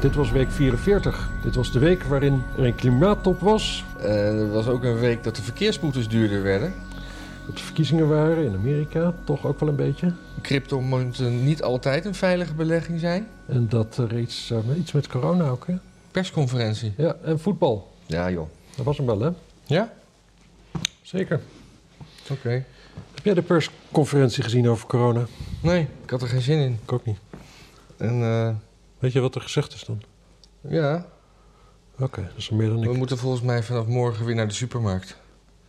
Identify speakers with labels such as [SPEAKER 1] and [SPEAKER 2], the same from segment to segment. [SPEAKER 1] Dit was week 44. Dit was de week waarin er een klimaattop was.
[SPEAKER 2] Eh, er was ook een week dat de verkeersboetes duurder werden.
[SPEAKER 1] Dat er verkiezingen waren in Amerika, toch ook wel een beetje.
[SPEAKER 2] Crypto moet eh, niet altijd een veilige belegging zijn.
[SPEAKER 1] En dat er iets, eh, iets met corona ook, hè?
[SPEAKER 2] Persconferentie.
[SPEAKER 1] Ja, en voetbal.
[SPEAKER 2] Ja, joh.
[SPEAKER 1] Dat was hem wel, hè?
[SPEAKER 2] Ja?
[SPEAKER 1] Zeker.
[SPEAKER 2] Oké.
[SPEAKER 1] Heb jij de persconferentie gezien over corona?
[SPEAKER 2] Nee, ik had er geen zin in.
[SPEAKER 1] Ik ook niet.
[SPEAKER 2] En eh,
[SPEAKER 1] Weet je wat er gezegd is dan?
[SPEAKER 2] ja,
[SPEAKER 1] Oké, dat is meer dan
[SPEAKER 2] we
[SPEAKER 1] ik.
[SPEAKER 2] moeten volgens mij vanaf morgen weer naar de supermarkt.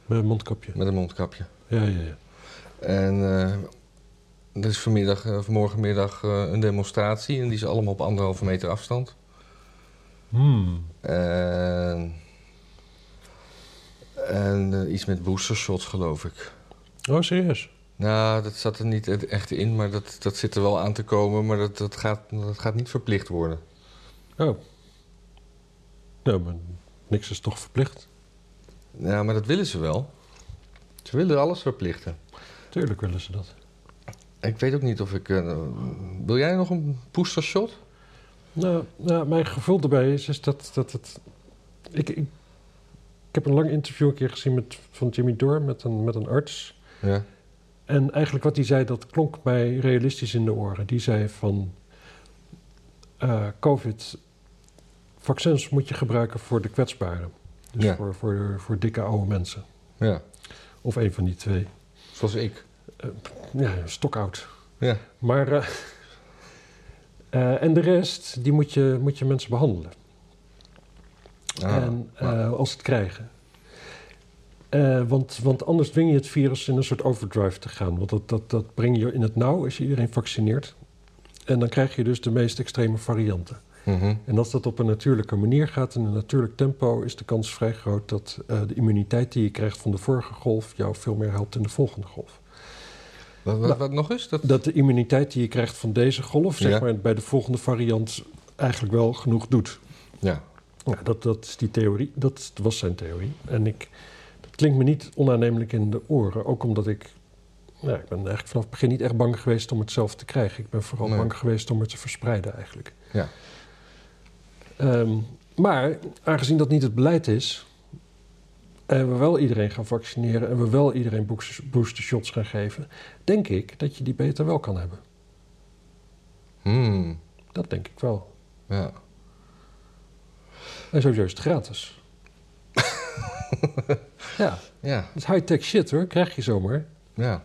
[SPEAKER 1] Met een mondkapje.
[SPEAKER 2] Met een mondkapje.
[SPEAKER 1] Ja, ja, ja.
[SPEAKER 2] En eh, er is vanmiddag, eh, of morgenmiddag eh, een demonstratie. En die is allemaal op anderhalve meter afstand.
[SPEAKER 1] Hmm.
[SPEAKER 2] En, en eh, iets met boostershots, geloof ik.
[SPEAKER 1] Oh, serieus?
[SPEAKER 2] Nou, dat zat er niet e- echt in, maar dat, dat zit er wel aan te komen. Maar dat, dat, gaat, dat gaat niet verplicht worden.
[SPEAKER 1] Oh. Nou, maar niks is toch verplicht?
[SPEAKER 2] Ja, maar dat willen ze wel. Ze willen alles verplichten.
[SPEAKER 1] Tuurlijk willen ze dat.
[SPEAKER 2] Ik weet ook niet of ik... eh, wil jij nog een boostershot?
[SPEAKER 1] Nou, nou, mijn gevoel daarbij is, is dat, dat het... Ik, ik, ik heb een lang interview een keer gezien met, van Jimmy Dore met een, met een arts.
[SPEAKER 2] Ja.
[SPEAKER 1] En eigenlijk wat hij zei, dat klonk mij realistisch in de oren. Die zei van eh, COVID, vaccins moet je gebruiken voor de kwetsbaren. Dus
[SPEAKER 2] Ja.
[SPEAKER 1] voor, voor, voor dikke oude mensen.
[SPEAKER 2] Ja,
[SPEAKER 1] Of een van die twee.
[SPEAKER 2] zoals ik.
[SPEAKER 1] Ja, stokoud.
[SPEAKER 2] Ja.
[SPEAKER 1] Maar, eh, eh, en de rest, die moet je, moet je mensen behandelen.
[SPEAKER 2] Ah,
[SPEAKER 1] en, eh,
[SPEAKER 2] maar-
[SPEAKER 1] als ze het krijgen. Eh, want, want anders dwing je het virus in een soort overdrive te gaan. Want dat, dat, dat breng je in het nauw als je iedereen vaccineert. En dan krijg je dus de meest extreme varianten.
[SPEAKER 2] Mhm.
[SPEAKER 1] En als dat op een natuurlijke manier gaat, in een natuurlijk tempo, is de kans vrij groot dat eh, de immuniteit die je krijgt van de vorige golf jou veel meer helpt in de volgende golf.
[SPEAKER 2] Wat, wat,
[SPEAKER 1] Nou,
[SPEAKER 2] wat nog eens? Dat...
[SPEAKER 1] Dat de immuniteit die je krijgt van deze golf, zeg
[SPEAKER 2] Ja.
[SPEAKER 1] maar, bij de volgende variant eigenlijk wel genoeg doet.
[SPEAKER 2] Ja.
[SPEAKER 1] Ja, dat, dat is die theorie. Dat was zijn theorie. En ik, dat klinkt me niet onaannemelijk in de oren. Ook omdat ik... Ja, ik ben eigenlijk vanaf het begin niet echt bang geweest om het zelf te krijgen. Ik ben vooral
[SPEAKER 2] Nee.
[SPEAKER 1] bang geweest om het te verspreiden eigenlijk.
[SPEAKER 2] Ja.
[SPEAKER 1] Ehm, maar aangezien dat niet het beleid is... en we wel iedereen gaan vaccineren... en we wel iedereen boeks- booster shots gaan geven... denk ik dat je die beter wel kan hebben.
[SPEAKER 2] Hmm.
[SPEAKER 1] Dat denk ik wel.
[SPEAKER 2] Ja.
[SPEAKER 1] En sowieso is het gratis. ja.
[SPEAKER 2] Ja.
[SPEAKER 1] Dat is high-tech shit hoor, krijg je zomaar.
[SPEAKER 2] Ja.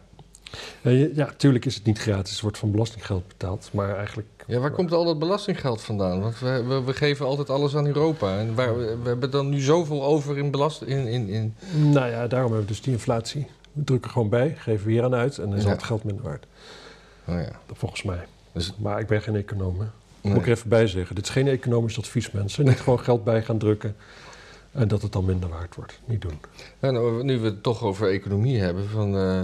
[SPEAKER 1] En je- Ja, tuurlijk is het niet gratis, het wordt van belastinggeld betaald, maar eigenlijk...
[SPEAKER 2] Ja, waar komt al dat belastinggeld vandaan? Want we, we, we geven altijd alles aan Europa. En waar, we, we hebben dan nu zoveel over in belasting. In, in, in...
[SPEAKER 1] Nou ja, daarom hebben we dus die inflatie. We drukken gewoon bij, geven weer aan uit en dan is
[SPEAKER 2] Ja.
[SPEAKER 1] al het geld minder waard.
[SPEAKER 2] Oh ja.
[SPEAKER 1] Volgens mij.
[SPEAKER 2] Dus-
[SPEAKER 1] Maar ik ben geen econoom. hè.
[SPEAKER 2] Nee.
[SPEAKER 1] Moet ik er even bij zeggen, dit is geen economisch advies mensen. Niet gewoon geld bij gaan drukken en dat het dan minder waard wordt. Niet doen.
[SPEAKER 2] Ja, nou, nu we het toch over economie hebben. Van, eh,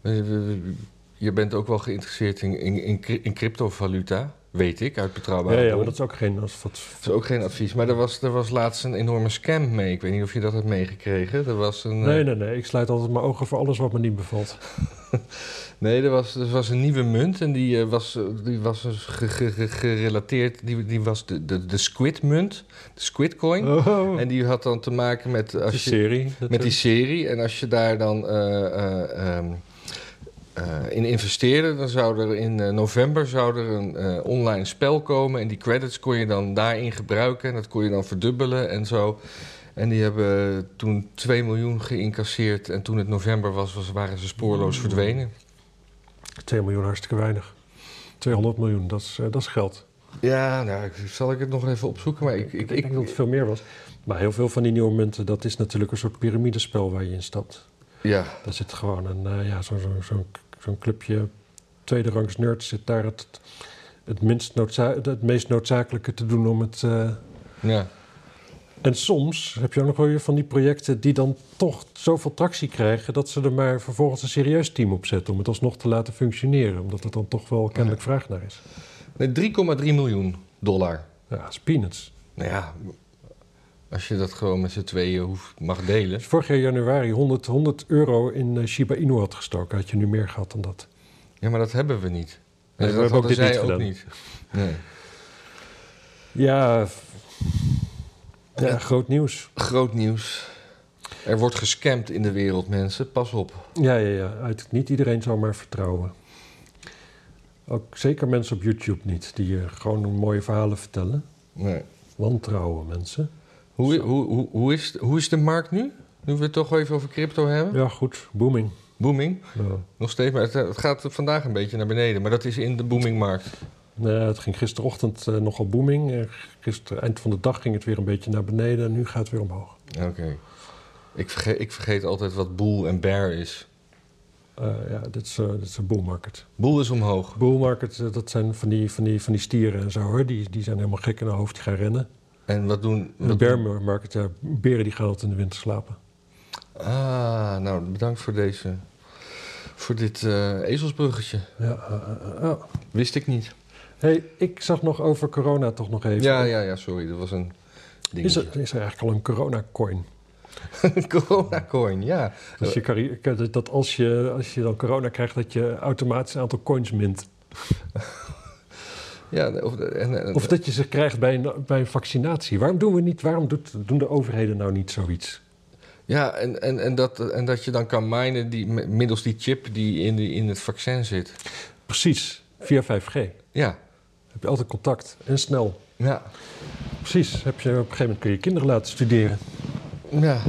[SPEAKER 2] we- we- we- je bent ook wel geïnteresseerd in, in, in, cri- in cryptovaluta. Weet ik, uit betrouwbare
[SPEAKER 1] Ja, ja, maar
[SPEAKER 2] bron.
[SPEAKER 1] dat is ook geen... Als wat,
[SPEAKER 2] Dat is ook geen advies. Maar er was, er was laatst een enorme scam mee. Ik weet niet of je dat hebt meegekregen. Er was een, eh,
[SPEAKER 1] nee, nee, nee, ik sluit altijd mijn ogen voor alles wat me niet bevalt.
[SPEAKER 2] Nee, er was, er was een nieuwe munt en die eh, was, eh, die was dus ge- ge- ge- gerelateerd. Die, die was de, de, de Squid-munt, de Squidcoin.
[SPEAKER 1] Oh,
[SPEAKER 2] En die had dan te maken met, als
[SPEAKER 1] die
[SPEAKER 2] je,
[SPEAKER 1] serie.
[SPEAKER 2] met die
[SPEAKER 1] natuurlijk.
[SPEAKER 2] serie. En als je daar dan eh, eh, ehm, eh, in investeerde, dan zou er in eh, november zou er een eh, online spel komen. En die credits kon je dan daarin gebruiken en dat kon je dan verdubbelen en zo. En die hebben toen 2 miljoen geïncasseerd. En toen het november was, was waren ze spoorloos verdwenen.
[SPEAKER 1] 2 miljoen, hartstikke weinig. 200 miljoen, dat is, eh, dat is geld.
[SPEAKER 2] Ja, nou, ik- zal ik het nog even opzoeken, maar ik... ik,
[SPEAKER 1] Ik denk dat het veel meer was. Maar heel veel van die nieuwe munten, dat is natuurlijk een soort piramidespel waar je in stapt.
[SPEAKER 2] ja,
[SPEAKER 1] Daar zit gewoon een, eh, ja, zo'n zo, zo, zo'n clubje tweede rangs nerds zit daar het, het, minst noodza- het meest noodzakelijke te doen om het... eh,
[SPEAKER 2] ja,
[SPEAKER 1] En soms heb je ook nog wel weer van die projecten die dan toch zoveel tractie krijgen... dat ze er maar vervolgens een serieus team op zetten om het alsnog te laten functioneren. Omdat er dan toch wel kennelijk vraag naar is.
[SPEAKER 2] Nee, 3,3 miljoen dollar.
[SPEAKER 1] Ja, dat is peanuts.
[SPEAKER 2] Nou ja, als je dat gewoon met z'n tweeën hoeft, mag delen.
[SPEAKER 1] Als je vorig jaar januari 100, 100 euro in eh, Shiba Inu had gestoken, had je nu meer gehad dan dat.
[SPEAKER 2] Ja, maar dat hebben we niet.
[SPEAKER 1] we
[SPEAKER 2] dat
[SPEAKER 1] hebben ook
[SPEAKER 2] hadden
[SPEAKER 1] dit
[SPEAKER 2] zij
[SPEAKER 1] niet
[SPEAKER 2] ook
[SPEAKER 1] gedaan.
[SPEAKER 2] niet. Nee.
[SPEAKER 1] Ja, f- ja
[SPEAKER 2] Ja.
[SPEAKER 1] groot nieuws.
[SPEAKER 2] Groot nieuws. Er wordt gescamd in de wereld, mensen. Pas op.
[SPEAKER 1] Ja, ja, ja. Uit, niet iedereen zou maar vertrouwen. Ook zeker mensen op YouTube niet, die je gewoon mooie verhalen vertellen.
[SPEAKER 2] Nee.
[SPEAKER 1] Wantrouwen mensen.
[SPEAKER 2] Hoe, hoe, hoe, hoe, is, hoe is de markt nu? Nu we het toch even over crypto hebben.
[SPEAKER 1] Ja, goed. Booming.
[SPEAKER 2] Booming.
[SPEAKER 1] Ja.
[SPEAKER 2] Nog steeds, maar het, eh, het gaat vandaag een beetje naar beneden. Maar dat is in de boomingmarkt.
[SPEAKER 1] Nou, het ging gisterochtend eh, nogal booming. Eh, Gisteren, eind van de dag ging het weer een beetje naar beneden en nu gaat het weer omhoog.
[SPEAKER 2] Oké. Ik, vergeet, ik vergeet altijd wat boel en bear is.
[SPEAKER 1] Eh, ja, dit is, eh, dit is een bull market.
[SPEAKER 2] Boel is omhoog.
[SPEAKER 1] Bull market, eh, dat zijn van die, van, die, van die stieren en zo hoor. Die, die zijn helemaal gek in hun hoofd, die gaan rennen.
[SPEAKER 2] En wat doen...
[SPEAKER 1] En de
[SPEAKER 2] wat
[SPEAKER 1] bear market, ja, beren die gaan altijd in de winter slapen.
[SPEAKER 2] Ah, nou, bedankt voor deze... Voor dit eh, ezelsbruggetje.
[SPEAKER 1] Ja, eh, eh, eh, oh.
[SPEAKER 2] Wist ik niet.
[SPEAKER 1] Hey, ik zag nog over corona toch nog even.
[SPEAKER 2] Ja, ja, ja, sorry. Dat was een
[SPEAKER 1] Is
[SPEAKER 2] dingetje.
[SPEAKER 1] er, is er eigenlijk al een corona-coin?
[SPEAKER 2] Corona coin, ja.
[SPEAKER 1] Dus je, kan- je- dat als je, als je dan corona krijgt, dat je automatisch een aantal coins mint.
[SPEAKER 2] ja of, en, en-
[SPEAKER 1] Of dat je ze krijgt bij een, bij een vaccinatie. Waarom doen we niet, waarom doet, doen de overheden nou niet zoiets?
[SPEAKER 2] ja en, en, en, dat, en dat je dan kan minen die, middels die chip die in, die in het vaccin zit.
[SPEAKER 1] Precies, via 5G.
[SPEAKER 2] Ja,
[SPEAKER 1] Heb je altijd contact en snel.
[SPEAKER 2] ja,
[SPEAKER 1] Precies, heb je, op een gegeven moment kun je kinderen laten studeren.
[SPEAKER 2] ja.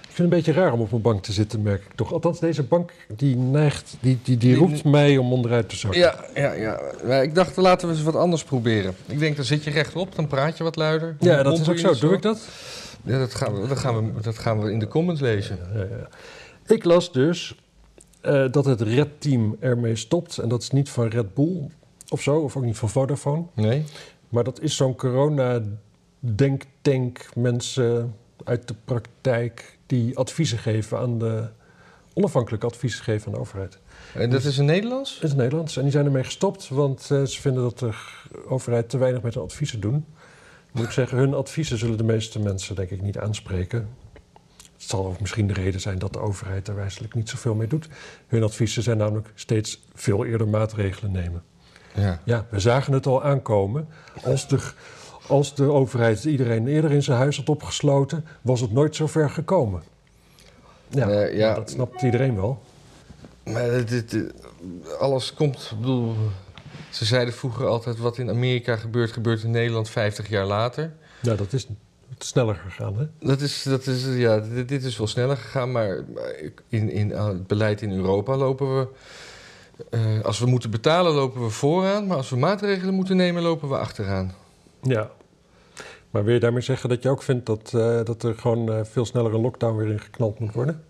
[SPEAKER 1] Ik vind het een beetje raar om op een bank te zitten, merk ik toch. Althans, deze bank die neigt, die, die, die
[SPEAKER 2] Die-
[SPEAKER 1] roept mij om onderuit te zakken.
[SPEAKER 2] Ja, ja, ja. Maar ik dacht, laten we eens wat anders proberen. Ik denk, dan zit je rechtop, dan praat je wat luider.
[SPEAKER 1] Ja, dat
[SPEAKER 2] Mond
[SPEAKER 1] is
[SPEAKER 2] doe
[SPEAKER 1] ook
[SPEAKER 2] je
[SPEAKER 1] zo.
[SPEAKER 2] niet
[SPEAKER 1] Doe ik dat?
[SPEAKER 2] Ja, dat gaan, we, dat, gaan we, dat gaan we in de comments lezen.
[SPEAKER 1] Ja, ja. Ik las dus eh, dat het Red Team ermee stopt. En dat is niet van Red Bull of zo, of ook niet van Vodafone.
[SPEAKER 2] Nee?
[SPEAKER 1] Maar dat is zo'n corona-denktank. Mensen uit de praktijk die adviezen geven aan de... onafhankelijke adviezen geven aan de overheid.
[SPEAKER 2] En dat is in Nederlands?
[SPEAKER 1] Het is Nederlands en die zijn ermee gestopt... want eh, ze vinden dat de g- overheid te weinig met hun adviezen doen. Moet ik zeggen, hun adviezen zullen de meeste mensen denk ik niet aanspreken... Het zal ook misschien de reden zijn dat de overheid er wijselijk niet zoveel mee doet. Hun adviezen zijn namelijk steeds veel eerder maatregelen nemen.
[SPEAKER 2] Ja.
[SPEAKER 1] Ja, we zagen het al aankomen. Als de, als de overheid iedereen eerder in zijn huis had opgesloten, was het nooit zo ver gekomen. Ja,
[SPEAKER 2] Eh, ja.
[SPEAKER 1] dat snapt iedereen wel.
[SPEAKER 2] Maar dit, dit- alles komt, ik bedoel... Ze zeiden vroeger altijd, wat in Amerika gebeurt, gebeurt in Nederland 50 jaar later.
[SPEAKER 1] Nou, dat is sneller gegaan, hè?
[SPEAKER 2] Dat is, dat is, ja, dit, dit is wel sneller gegaan, maar in, in aan het beleid in Europa lopen we... eh, als we moeten betalen, lopen we vooraan. Maar als we maatregelen moeten nemen, lopen we achteraan.
[SPEAKER 1] Ja. Maar wil je daarmee zeggen dat je ook vindt dat, eh, dat er gewoon eh, veel sneller een lockdown weer ingeknald moet worden?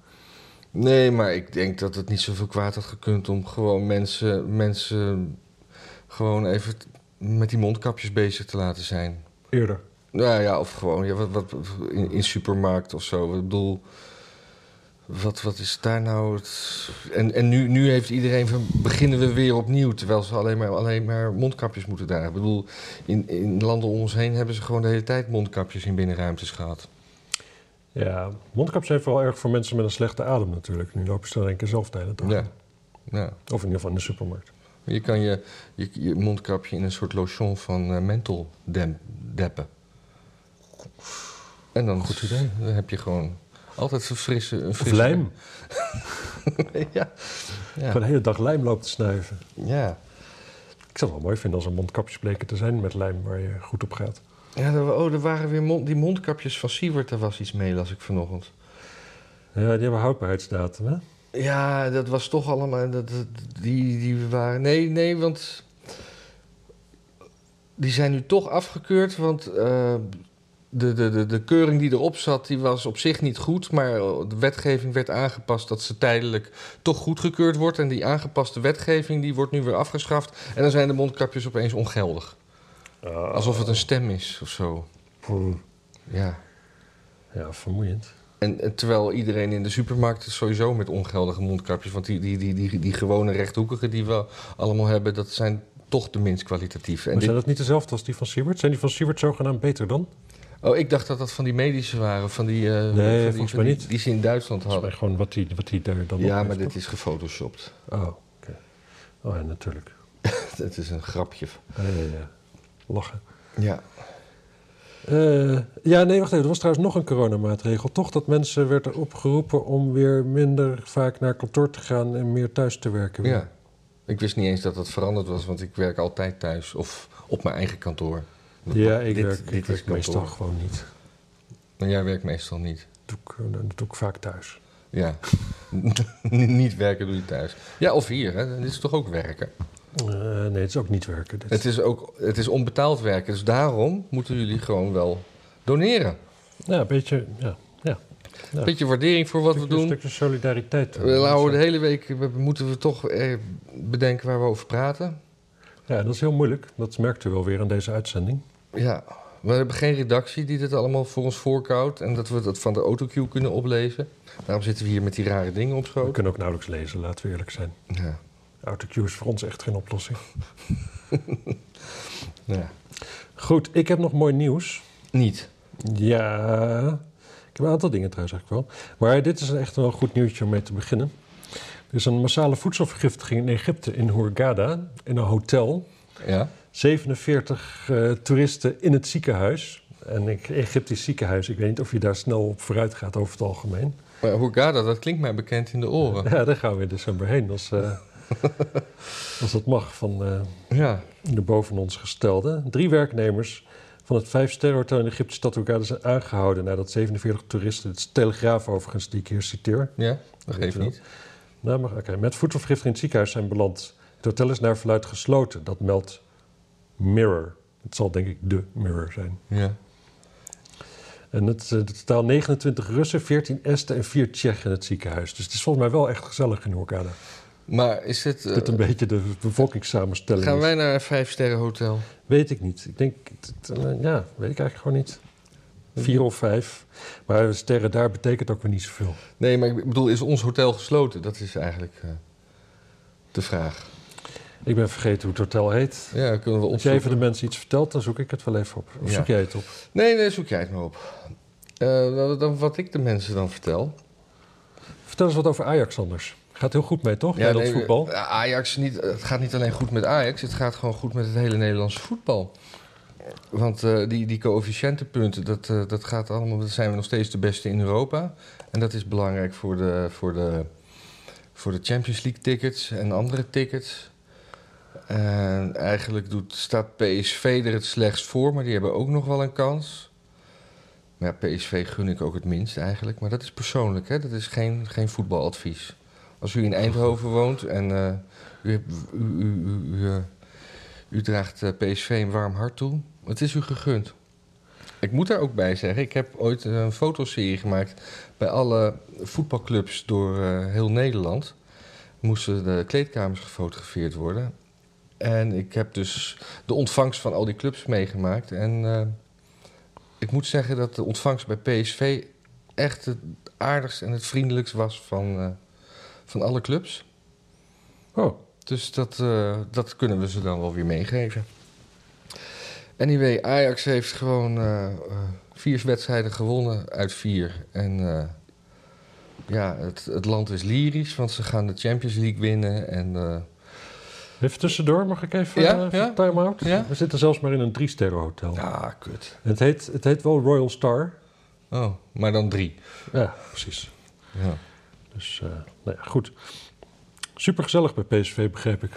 [SPEAKER 2] Nee, maar ik denk dat het niet zoveel kwaad had gekund... om gewoon mensen, mensen gewoon even t- met die mondkapjes bezig te laten zijn.
[SPEAKER 1] Eerder.
[SPEAKER 2] Nou ja, of gewoon ja, wat, wat, in, in supermarkt of zo. Ik bedoel, wat, wat is daar nou het... En, en nu, nu heeft iedereen van, beginnen we weer opnieuw... terwijl ze alleen maar, alleen maar mondkapjes moeten dragen. Ik bedoel, in, in landen om ons heen hebben ze gewoon de hele tijd mondkapjes in binnenruimtes gehad.
[SPEAKER 1] Ja, mondkapjes zijn vooral erg voor mensen met een slechte adem natuurlijk. Nu lopen ze er een keer zelf de hele dag.
[SPEAKER 2] Ja, ja.
[SPEAKER 1] Of in ieder geval in de supermarkt.
[SPEAKER 2] Je kan je, je, je mondkapje in een soort lotion van eh menthol dem, deppen. En dan, Goed idee. dan heb je gewoon altijd een frisse... Een
[SPEAKER 1] Of
[SPEAKER 2] frisse
[SPEAKER 1] lijm.
[SPEAKER 2] ja. Ja.
[SPEAKER 1] Gewoon de hele dag lijm loopt te snuiven.
[SPEAKER 2] Ja.
[SPEAKER 1] Ik zou het wel mooi vinden als er mondkapjes bleken te zijn met lijm waar je goed op gaat.
[SPEAKER 2] ja er, oh, er waren weer mond- die mondkapjes van Siewert. Daar was iets mee, las ik vanochtend.
[SPEAKER 1] Ja, die hebben houdbaarheidsdatum, hè?
[SPEAKER 2] Ja, dat was toch allemaal... Dat, dat- die, die waren... Nee, nee, want... Die zijn nu toch afgekeurd, want... eh, de, de, de, de keuring die erop zat, die was op zich niet goed. Maar de wetgeving werd aangepast dat ze tijdelijk toch goedgekeurd wordt. En die aangepaste wetgeving die wordt nu weer afgeschaft. En dan zijn de mondkapjes opeens ongeldig. Alsof het een stem is of zo.
[SPEAKER 1] Poeh.
[SPEAKER 2] Ja.
[SPEAKER 1] Ja, vermoeiend.
[SPEAKER 2] En, en terwijl iedereen in de supermarkt is sowieso met ongeldige mondkapjes. Want die, die, die, die, die gewone rechthoekige die we allemaal hebben, dat zijn toch de minst kwalitatieve. En
[SPEAKER 1] Maar
[SPEAKER 2] dit-
[SPEAKER 1] zijn dat niet dezelfde als die van Siebert? Zijn die van Siebert zogenaamd beter dan?
[SPEAKER 2] oh, ik dacht dat dat van die medische waren. Van die, eh, van die-
[SPEAKER 1] volgens
[SPEAKER 2] van
[SPEAKER 1] mij
[SPEAKER 2] die-
[SPEAKER 1] niet.
[SPEAKER 2] Die ze in Duitsland
[SPEAKER 1] Volgens mij
[SPEAKER 2] hadden.
[SPEAKER 1] gewoon wat die, wat die daar dan op
[SPEAKER 2] Ja,
[SPEAKER 1] heeft,
[SPEAKER 2] maar dit
[SPEAKER 1] toch?
[SPEAKER 2] is gefotoshopt.
[SPEAKER 1] Oh, oké. Oh ja, natuurlijk.
[SPEAKER 2] Het is een grapje.
[SPEAKER 1] Ja, ja, ja. Lachen.
[SPEAKER 2] Ja.
[SPEAKER 1] Eh, ja, nee, wacht even. Er was trouwens nog een coronamaatregel. Toch dat mensen werden opgeroepen om weer minder vaak naar kantoor te gaan en meer thuis te werken.
[SPEAKER 2] ja. Ik wist niet eens dat dat veranderd was, want ik werk altijd thuis of op mijn eigen kantoor.
[SPEAKER 1] ja ik
[SPEAKER 2] Dit-
[SPEAKER 1] werk,
[SPEAKER 2] dit
[SPEAKER 1] ik
[SPEAKER 2] is
[SPEAKER 1] werk
[SPEAKER 2] kantoor.
[SPEAKER 1] meestal gewoon niet.
[SPEAKER 2] Maar jij werkt meestal niet.
[SPEAKER 1] Dat doe, ik, eh, dat doe ik vaak thuis.
[SPEAKER 2] Ja. niet werken doe je thuis. Ja, of hier. Hè. Dit is toch ook werken?
[SPEAKER 1] Eh, nee, het is ook niet werken. Dit.
[SPEAKER 2] Het is ook het is onbetaald werken. Dus daarom moeten jullie gewoon wel doneren.
[SPEAKER 1] Ja, een beetje. Ja, ja.
[SPEAKER 2] Een beetje waardering voor wat we
[SPEAKER 1] Een
[SPEAKER 2] doen.
[SPEAKER 1] stukje solidariteit.
[SPEAKER 2] We houden de hele week we- moeten we toch eh, bedenken waar we over praten.
[SPEAKER 1] Ja, dat is heel moeilijk. Dat merkt u wel weer aan deze uitzending.
[SPEAKER 2] Ja, we hebben geen redactie die dit allemaal voor ons voorkoudt. En dat we dat van de autocue kunnen oplezen. Daarom zitten we hier met die rare dingen op
[SPEAKER 1] We
[SPEAKER 2] schoot.
[SPEAKER 1] kunnen ook nauwelijks lezen, laten we eerlijk zijn.
[SPEAKER 2] Ja.
[SPEAKER 1] Autocue is voor ons echt geen oplossing.
[SPEAKER 2] Nou ja.
[SPEAKER 1] Goed, ik heb nog mooi nieuws.
[SPEAKER 2] Niet.
[SPEAKER 1] Ja, ik heb een aantal dingen trouwens eigenlijk wel. Maar dit is echt wel een goed nieuwtje om mee te beginnen. Er is een massale voedselvergiftiging in Egypte, in Hurghada, in een hotel.
[SPEAKER 2] Ja.
[SPEAKER 1] 47 eh, toeristen in het ziekenhuis. En een Egyptisch ziekenhuis, ik weet niet of je daar snel op vooruit gaat over het algemeen.
[SPEAKER 2] Maar Hurghada, dat klinkt mij bekend in de oren.
[SPEAKER 1] Ja, daar gaan we in december heen, als, eh, als dat mag, van eh,
[SPEAKER 2] Ja.
[SPEAKER 1] de boven ons gestelde. Drie werknemers van het vijfsterrenhotel in de Egyptische stad Hurghada zijn dus aangehouden nadat 47 toeristen, het is de Telegraaf overigens die ik hier citeer,
[SPEAKER 2] Ja, dat geeft niet.
[SPEAKER 1] nou, maar, oké, met voedselvergiftiging in het ziekenhuis zijn beland. Het hotel is naar verluid gesloten, dat meldt Mirror. Het zal denk ik de Mirror zijn.
[SPEAKER 2] Ja.
[SPEAKER 1] En het, eh, het totaal 29 Russen, 14 Esten en 4 Tsjechen in het ziekenhuis. Dus het is volgens mij wel echt gezellig in Hurghada.
[SPEAKER 2] Maar is dit... eh,
[SPEAKER 1] Dit een beetje de bevolkingssamenstelling
[SPEAKER 2] gaan
[SPEAKER 1] is.
[SPEAKER 2] wij naar een vijfsterrenhotel?
[SPEAKER 1] Weet ik niet. Ik denk, t- t- eh, ja, weet ik eigenlijk gewoon niet. Vier of vijf. Maar sterren daar betekent ook weer niet zoveel.
[SPEAKER 2] Nee, maar ik bedoel, is ons hotel gesloten? Dat is eigenlijk eh, de vraag.
[SPEAKER 1] Ik ben vergeten hoe het hotel heet.
[SPEAKER 2] Ja, kunnen we
[SPEAKER 1] Als jij even
[SPEAKER 2] opzoeken.
[SPEAKER 1] de mensen iets vertelt, dan zoek ik het wel even op. Of
[SPEAKER 2] Ja.
[SPEAKER 1] zoek jij het op?
[SPEAKER 2] Nee, nee, zoek jij het maar op. Eh, nou, dan wat ik de mensen dan vertel.
[SPEAKER 1] Vertel eens wat over Ajax anders. Gaat heel goed mee, toch? Ja, dat
[SPEAKER 2] nee,
[SPEAKER 1] voetbal.
[SPEAKER 2] eh, Ajax niet, het gaat niet alleen goed met Ajax, het gaat gewoon goed met het hele Nederlandse voetbal. Want eh, die, die coëfficiëntenpunten, dat, eh, dat gaat allemaal, dat zijn we nog steeds de beste in Europa. En dat is belangrijk voor de, voor de, voor de Champions League tickets en andere tickets. En eigenlijk doet, staat PSV er het slechtst voor, maar die hebben ook nog wel een kans. Maar ja, PSV gun ik ook het minst eigenlijk. Maar dat is persoonlijk, hè? dat is geen, geen voetbaladvies. Als u in Eindhoven woont en eh, u, hebt- u, u, u, u, eh, u draagt eh, PSV een warm hart toe, het is u gegund. Ik moet daar ook bij zeggen, ik heb ooit een fotoserie gemaakt bij alle voetbalclubs door eh, heel Nederland. Moesten de kleedkamers gefotografeerd worden. En ik heb dus de ontvangst van al die clubs meegemaakt. En eh, ik moet zeggen dat de ontvangst bij PSV echt het aardigst en het vriendelijkst was van, eh, van alle clubs.
[SPEAKER 1] Oh,
[SPEAKER 2] Dus dat, eh, dat kunnen we ze dan wel weer meegeven. Anyway, Ajax heeft gewoon eh, eh, vier wedstrijden gewonnen uit vier. En eh, ja, het, het land is lyrisch, want ze gaan de Champions League winnen. En, eh,
[SPEAKER 1] even tussendoor, mag ik even
[SPEAKER 2] Ja,
[SPEAKER 1] eh, even
[SPEAKER 2] ja.
[SPEAKER 1] time-out?
[SPEAKER 2] Ja.
[SPEAKER 1] We zitten zelfs maar in een drie-sterren hotel.
[SPEAKER 2] ah, kut.
[SPEAKER 1] Het, heet, het heet wel Royal Star.
[SPEAKER 2] Oh, maar dan drie.
[SPEAKER 1] Ja, precies.
[SPEAKER 2] Ja.
[SPEAKER 1] Dus, eh, nou ja, goed. Supergezellig bij PSV, begreep ik.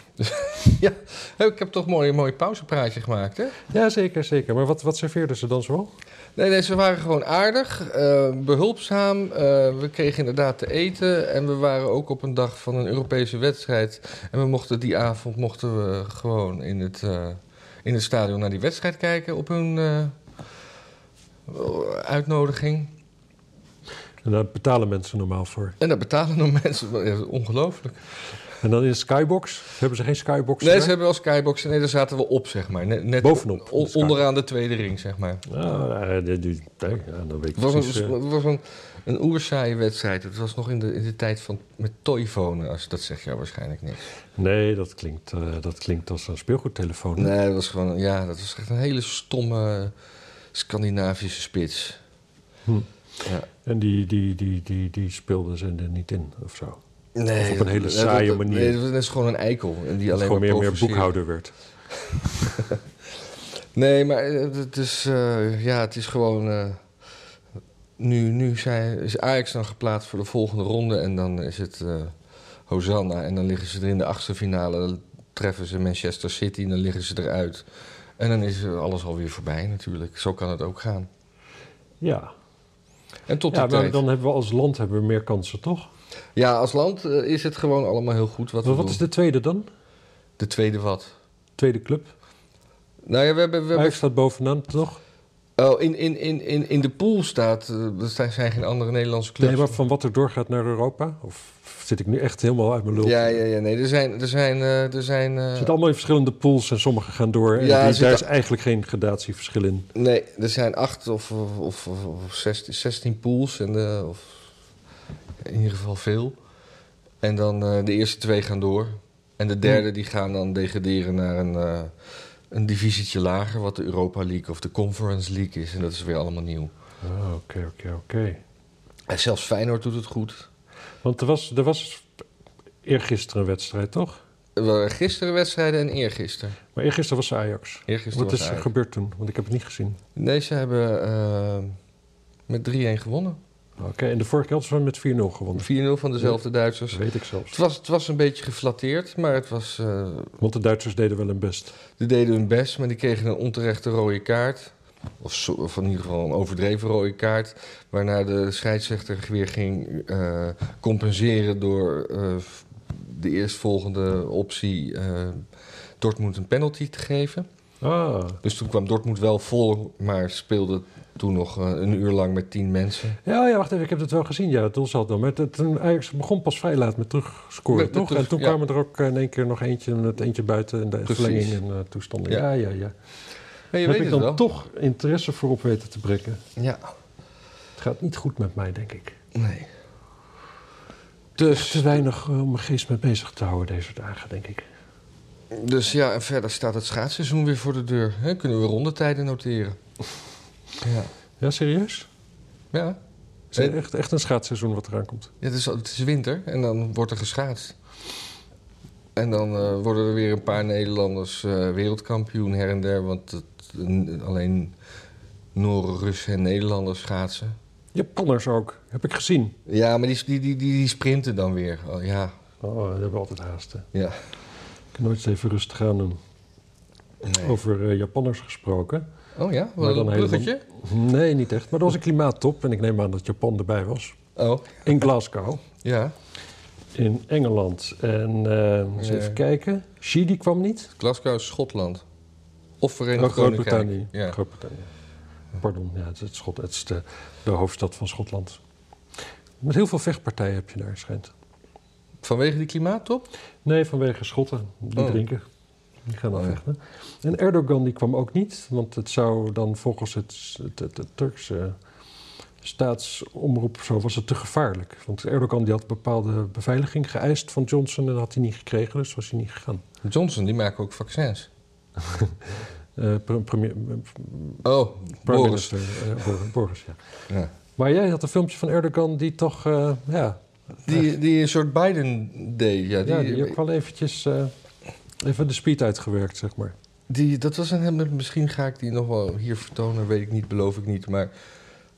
[SPEAKER 2] Hé, Ik heb toch mooi, een mooi pauzepraatje gemaakt, hè?
[SPEAKER 1] Ja, zeker, zeker. Maar wat, wat serveerden ze dan zoal?
[SPEAKER 2] Nee, nee, ze waren gewoon aardig, eh, behulpzaam. eh, we kregen inderdaad te eten. En we waren ook op een dag van een Europese wedstrijd. En we mochten die avond mochten we gewoon in het, eh, in het stadion naar die wedstrijd kijken op hun eh, uitnodiging.
[SPEAKER 1] En daar betalen mensen normaal voor.
[SPEAKER 2] En daar betalen nog mensen. Ja, dat is ongelooflijk.
[SPEAKER 1] En dan in de skybox? Hebben ze geen skybox?
[SPEAKER 2] Nee,
[SPEAKER 1] daar?
[SPEAKER 2] ze hebben wel skyboxen. Nee, daar zaten we op, zeg maar. Net, net
[SPEAKER 1] Bovenop de
[SPEAKER 2] on-
[SPEAKER 1] sky.
[SPEAKER 2] onderaan de tweede ring, zeg maar.
[SPEAKER 1] Ah, eh, die- die- nee, ja, dan weet ik
[SPEAKER 2] Het was,
[SPEAKER 1] precies,
[SPEAKER 2] een,
[SPEAKER 1] eh.
[SPEAKER 2] het was een, een oerzaaie wedstrijd. Het was nog in de, in de tijd van met toyfonen. Als, dat zeg jij waarschijnlijk niks.
[SPEAKER 1] Nee, dat klinkt, eh, dat klinkt als een speelgoedtelefoon.
[SPEAKER 2] Nee, dat was gewoon... Ja, dat was echt een hele stomme Scandinavische spits.
[SPEAKER 1] Hm.
[SPEAKER 2] Ja.
[SPEAKER 1] En die, die, die, die, die speelden ze er niet in of zo.
[SPEAKER 2] Nee,
[SPEAKER 1] Of op een
[SPEAKER 2] dat-
[SPEAKER 1] hele
[SPEAKER 2] dat-
[SPEAKER 1] saaie
[SPEAKER 2] dat-
[SPEAKER 1] manier.
[SPEAKER 2] Nee, dat is gewoon een eikel. En die
[SPEAKER 1] Dat
[SPEAKER 2] alleen
[SPEAKER 1] gewoon
[SPEAKER 2] maar
[SPEAKER 1] meer, meer
[SPEAKER 2] provoceert.
[SPEAKER 1] boekhouder werd.
[SPEAKER 2] Nee, maar eh, het is, eh, ja, het is gewoon. eh, nu nu zijn, is Ajax dan geplaatst voor de volgende ronde. En dan is het eh, Hosanna. En dan liggen ze er in de achtste finale. Dan treffen ze Manchester City. En dan liggen ze eruit. En dan is eh, alles alweer voorbij natuurlijk. Zo kan het ook gaan.
[SPEAKER 1] Ja,
[SPEAKER 2] En tot
[SPEAKER 1] ja
[SPEAKER 2] die
[SPEAKER 1] maar
[SPEAKER 2] tijd.
[SPEAKER 1] dan hebben we als land hebben we meer kansen, toch?
[SPEAKER 2] Ja, als land eh, is het gewoon allemaal heel goed wat
[SPEAKER 1] Maar
[SPEAKER 2] we
[SPEAKER 1] wat
[SPEAKER 2] doen.
[SPEAKER 1] is de tweede dan?
[SPEAKER 2] De tweede wat?
[SPEAKER 1] Tweede club?
[SPEAKER 2] Nou ja, we hebben... We hebben
[SPEAKER 1] Ajax staat bovenaan, toch?
[SPEAKER 2] oh, in, in, in, in, in de pool staat... eh, er zijn zijn geen andere Nederlandse clubs.
[SPEAKER 1] Nee, maar van wat er doorgaat naar Europa? Of zit ik nu echt helemaal uit mijn lul?
[SPEAKER 2] Ja, ja, ja. Nee, er zijn... Er zijn, eh, er zijn eh,
[SPEAKER 1] Het zit allemaal in verschillende pools en sommige gaan door. En
[SPEAKER 2] Ja,
[SPEAKER 1] die-
[SPEAKER 2] er zit
[SPEAKER 1] daar
[SPEAKER 2] a-
[SPEAKER 1] is eigenlijk geen gradatieverschil in.
[SPEAKER 2] nee, er zijn acht of, of, of, of- of 16, 16 pools. En, eh, of, in ieder geval veel. En dan eh, de eerste twee gaan door. En de
[SPEAKER 1] Hmm.
[SPEAKER 2] derde die gaan dan degraderen naar een, eh, een divisietje lager... wat de Europa League of de Conference League is. En dat is weer allemaal nieuw.
[SPEAKER 1] Ah, Oké, oké, oké.
[SPEAKER 2] En zelfs Feyenoord doet het goed.
[SPEAKER 1] Want er was, er was eergisteren een wedstrijd, toch?
[SPEAKER 2] Er waren Eh, Gisteren wedstrijden en eergisteren.
[SPEAKER 1] Maar eergisteren was Ajax.
[SPEAKER 2] Eergisteren
[SPEAKER 1] Wat
[SPEAKER 2] was
[SPEAKER 1] is er
[SPEAKER 2] Ajax.
[SPEAKER 1] gebeurd toen? Want ik heb het niet gezien.
[SPEAKER 2] Nee, ze hebben eh, met 3-1 gewonnen.
[SPEAKER 1] Oké, en de vorige keer hadden ze met 4-0 gewonnen.
[SPEAKER 2] 4-0 van dezelfde Duitsers.
[SPEAKER 1] Dat weet ik
[SPEAKER 2] Het
[SPEAKER 1] zelfs.
[SPEAKER 2] was, het was een beetje geflatteerd, maar het was, eh,
[SPEAKER 1] Want de Duitsers deden wel hun best.
[SPEAKER 2] die deden hun best, maar die kregen een onterechte rode kaart. Of, zo- of in ieder geval een overdreven rode kaart. Waarna de scheidsrechter weer ging eh, compenseren door eh, de eerstvolgende optie eh, Dortmund een penalty te geven.
[SPEAKER 1] Ah,
[SPEAKER 2] Dus toen kwam Dortmund wel vol, maar speelde toen nog eh, een uur lang met tien mensen.
[SPEAKER 1] Ja, ja, wacht even, ik heb het wel gezien. Ja, toen zat dan. Maar het- toen Ajax begon pas vrij laat met terugscoren,
[SPEAKER 2] Met- met
[SPEAKER 1] toch?
[SPEAKER 2] terug-
[SPEAKER 1] en toen
[SPEAKER 2] ja.
[SPEAKER 1] kwamen er ook eh, in één keer nog eentje, met eentje buiten en de
[SPEAKER 2] Precies.
[SPEAKER 1] verlenging en eh, toestanden. Ja,
[SPEAKER 2] Ja.
[SPEAKER 1] ja, ja.
[SPEAKER 2] Maar
[SPEAKER 1] Heb
[SPEAKER 2] je weet
[SPEAKER 1] ik
[SPEAKER 2] het
[SPEAKER 1] dan
[SPEAKER 2] wel.
[SPEAKER 1] toch interesse voor op weten te breken?
[SPEAKER 2] Ja,
[SPEAKER 1] Het gaat niet goed met mij, denk ik.
[SPEAKER 2] nee.
[SPEAKER 1] Te
[SPEAKER 2] Dus,
[SPEAKER 1] weinig eh, om mijn geest mee bezig te houden deze dagen, denk ik.
[SPEAKER 2] dus ja, en verder staat het schaatsseizoen weer voor de deur. Hè? Kunnen we rondetijden noteren. Ja.
[SPEAKER 1] Ja, serieus?
[SPEAKER 2] Ja.
[SPEAKER 1] Is het
[SPEAKER 2] Eh,
[SPEAKER 1] echt, echt een schaatsseizoen wat eraan komt?
[SPEAKER 2] Ja, het, is, al- het is winter en dan wordt er geschaatst. En dan eh, worden er weer een paar Nederlanders eh, wereldkampioen her en der. Want het- n- alleen Noren, Russen en Nederlanders schaatsen.
[SPEAKER 1] Japanners ook, heb ik gezien.
[SPEAKER 2] Ja, maar die, die, die, die die sprinten dan weer. Oh, ja,
[SPEAKER 1] Oh, we hebben altijd haasten.
[SPEAKER 2] ja.
[SPEAKER 1] Ik kan nooit eens even rustig aan doen.
[SPEAKER 2] Nee.
[SPEAKER 1] Over eh, Japanners gesproken.
[SPEAKER 2] Oh ja,
[SPEAKER 1] Maar
[SPEAKER 2] wat
[SPEAKER 1] dan
[SPEAKER 2] een
[SPEAKER 1] helemaal-
[SPEAKER 2] bruggetje.
[SPEAKER 1] Nee, niet echt. Maar er was een klimaattop en ik neem aan dat Japan erbij was.
[SPEAKER 2] Oh,
[SPEAKER 1] In Glasgow,
[SPEAKER 2] ja.
[SPEAKER 1] in Engeland. En eh, eens
[SPEAKER 2] Ja.
[SPEAKER 1] even kijken. Chili kwam niet.
[SPEAKER 2] Glasgow is Schotland. Of Verenigd
[SPEAKER 1] Oh, Groot-Brittannië.
[SPEAKER 2] Koninkrijk. Ja.
[SPEAKER 1] Groot-Brittannië. Pardon, ja, het is, het Schot, het is de, de hoofdstad van Schotland. Met heel veel vechtpartijen heb je daar, schijnt.
[SPEAKER 2] Vanwege die klimaattop?
[SPEAKER 1] Nee, vanwege Schotten. Die
[SPEAKER 2] Oh.
[SPEAKER 1] drinken. Die gaan dan
[SPEAKER 2] Oh, ja.
[SPEAKER 1] vechten. En Erdogan die kwam ook niet. Want het zou dan volgens het, het, het- het Turkse staatsomroep zo was het te gevaarlijk. Want Erdogan die had bepaalde beveiliging geëist van Johnson... en dat had hij niet gekregen, dus was hij niet gegaan.
[SPEAKER 2] Johnson, die maken ook vaccins.
[SPEAKER 1] Eh, pre- premier, eh,
[SPEAKER 2] Oh,
[SPEAKER 1] prime
[SPEAKER 2] Boris.
[SPEAKER 1] minister, eh, Bor- Boris, ja.
[SPEAKER 2] Ja.
[SPEAKER 1] Maar jij had een filmpje van Erdogan die toch... eh, ja,
[SPEAKER 2] Die, die een soort Biden deed. Ja, die,
[SPEAKER 1] ja, die ook wel eventjes... eh, even de speed uitgewerkt, zeg maar.
[SPEAKER 2] die- dat was een... Misschien ga ik die nog wel hier vertonen, weet ik niet, beloof ik niet. Maar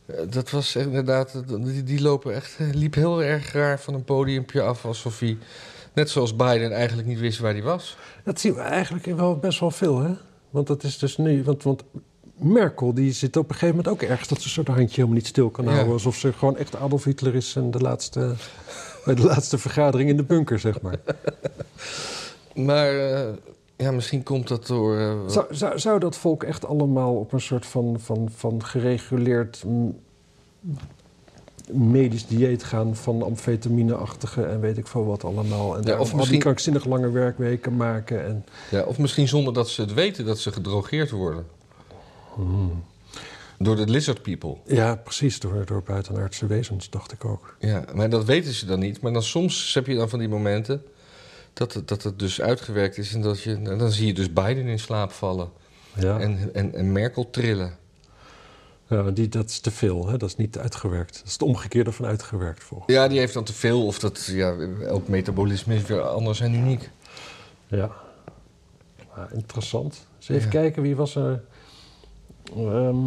[SPEAKER 2] eh, dat was inderdaad... Die, die lopen echt, eh, liep heel erg raar van een podiumpje af alsof hij... Net zoals Biden eigenlijk niet wist waar hij was.
[SPEAKER 1] Dat zien we eigenlijk wel best wel veel, hè? Want dat is dus nu... Want, want Merkel die zit op een gegeven moment ook ergens... dat ze een soort handje helemaal niet stil kan
[SPEAKER 2] Ja.
[SPEAKER 1] houden. Alsof ze gewoon echt Adolf Hitler is... en de laatste, bij de laatste vergadering in de bunker, zeg maar.
[SPEAKER 2] Maar eh, ja, misschien komt dat door... eh,
[SPEAKER 1] Zou, zou, zou dat volk echt allemaal op een soort van, van, van gereguleerd... mm, medisch dieet gaan van amfetamine-achtige... en weet ik veel wat allemaal. En
[SPEAKER 2] Ja,
[SPEAKER 1] daar
[SPEAKER 2] of
[SPEAKER 1] of misschien...
[SPEAKER 2] misschien-
[SPEAKER 1] die krankzinnig lange werkweken maken. En...
[SPEAKER 2] Ja, of misschien zonder dat ze het weten dat ze gedrogeerd worden.
[SPEAKER 1] Hmm.
[SPEAKER 2] Door de lizard people.
[SPEAKER 1] Ja, precies, door, door buitenaardse wezens, dacht ik ook.
[SPEAKER 2] Ja, maar dat weten ze dan niet. Maar dan soms heb je dan van die momenten dat het, dat het dus uitgewerkt is. En dat je, en dan zie je dus Biden in slaap vallen.
[SPEAKER 1] Ja.
[SPEAKER 2] En, en, en Merkel trillen.
[SPEAKER 1] Ja, maar die, dat is te veel, hè? dat is niet uitgewerkt. Dat is het omgekeerde van uitgewerkt volgens
[SPEAKER 2] Ja, die heeft dan te veel. Of dat, ja, elk metabolisme is weer anders en uniek.
[SPEAKER 1] Ja. Maar interessant. Dus even
[SPEAKER 2] Ja.
[SPEAKER 1] kijken, wie was er? Ehm.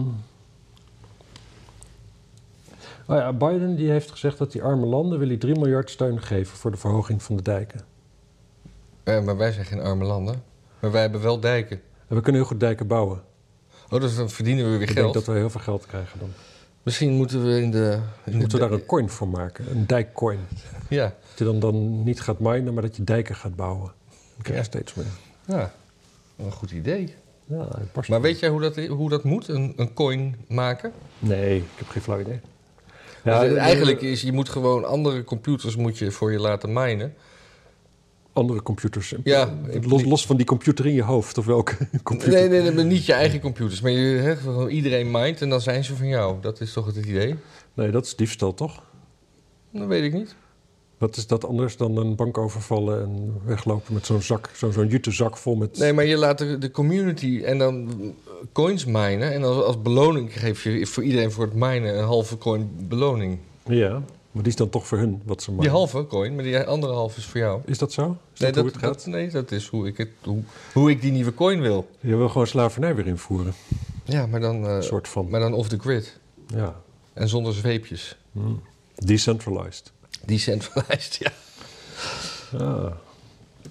[SPEAKER 1] oh ja, Biden die heeft gezegd dat die arme landen wil hij 3 miljard steun geven voor de verhoging van de dijken.
[SPEAKER 2] Eh, maar wij zijn geen arme landen. Maar wij hebben wel dijken.
[SPEAKER 1] En we kunnen heel goed dijken bouwen.
[SPEAKER 2] Oh, dus dan verdienen we weer
[SPEAKER 1] Ik
[SPEAKER 2] geld.
[SPEAKER 1] denk dat we heel veel geld krijgen dan.
[SPEAKER 2] Misschien moeten we in de... in de
[SPEAKER 1] Moeten we daar
[SPEAKER 2] dij-
[SPEAKER 1] een coin voor maken, een dijkcoin.
[SPEAKER 2] Ja,
[SPEAKER 1] Dat je dan, dan niet gaat minen, maar dat je dijken gaat bouwen. Dan krijg je
[SPEAKER 2] Ja.
[SPEAKER 1] steeds meer.
[SPEAKER 2] ja. Wel Een goed idee.
[SPEAKER 1] Ja, het past
[SPEAKER 2] Maar
[SPEAKER 1] wel.
[SPEAKER 2] weet jij hoe dat, hoe dat moet, een, een coin maken?
[SPEAKER 1] Nee, ik heb geen flauw idee.
[SPEAKER 2] Dus
[SPEAKER 1] de-
[SPEAKER 2] eigenlijk is, je moet gewoon andere computers moet je voor je laten minen.
[SPEAKER 1] Andere computers.
[SPEAKER 2] Ja,
[SPEAKER 1] los,
[SPEAKER 2] ik-
[SPEAKER 1] los van die computer in je hoofd, of welke computer.
[SPEAKER 2] Nee, nee, nee, maar niet je eigen computers. Maar je, hè, gewoon iedereen mint en dan zijn ze van jou. Dat is toch het idee?
[SPEAKER 1] Nee, dat is diefstal, toch?
[SPEAKER 2] Dat weet ik niet.
[SPEAKER 1] Wat is dat anders dan een bank overvallen en weglopen met zo'n zak, zo'n zo'n jute zak vol met...
[SPEAKER 2] Nee, maar je laat de, de community en dan coins minen. En als, als beloning geef je voor iedereen voor het minen een halve coin beloning.
[SPEAKER 1] Ja, maar die is dan toch voor hun wat ze maken.
[SPEAKER 2] Die halve coin, maar die andere halve is voor jou.
[SPEAKER 1] Is dat zo? Is
[SPEAKER 2] Nee,
[SPEAKER 1] dat hoe
[SPEAKER 2] dat,
[SPEAKER 1] het gaat?
[SPEAKER 2] dat- nee, dat is hoe ik, het, hoe, hoe ik die nieuwe coin wil.
[SPEAKER 1] Je wil gewoon slavernij weer invoeren,
[SPEAKER 2] Ja, maar dan, eh,
[SPEAKER 1] een soort van.
[SPEAKER 2] maar dan off the grid.
[SPEAKER 1] Ja.
[SPEAKER 2] En zonder zweepjes.
[SPEAKER 1] Hm. Decentralized.
[SPEAKER 2] Decentralized, ja.
[SPEAKER 1] Ah.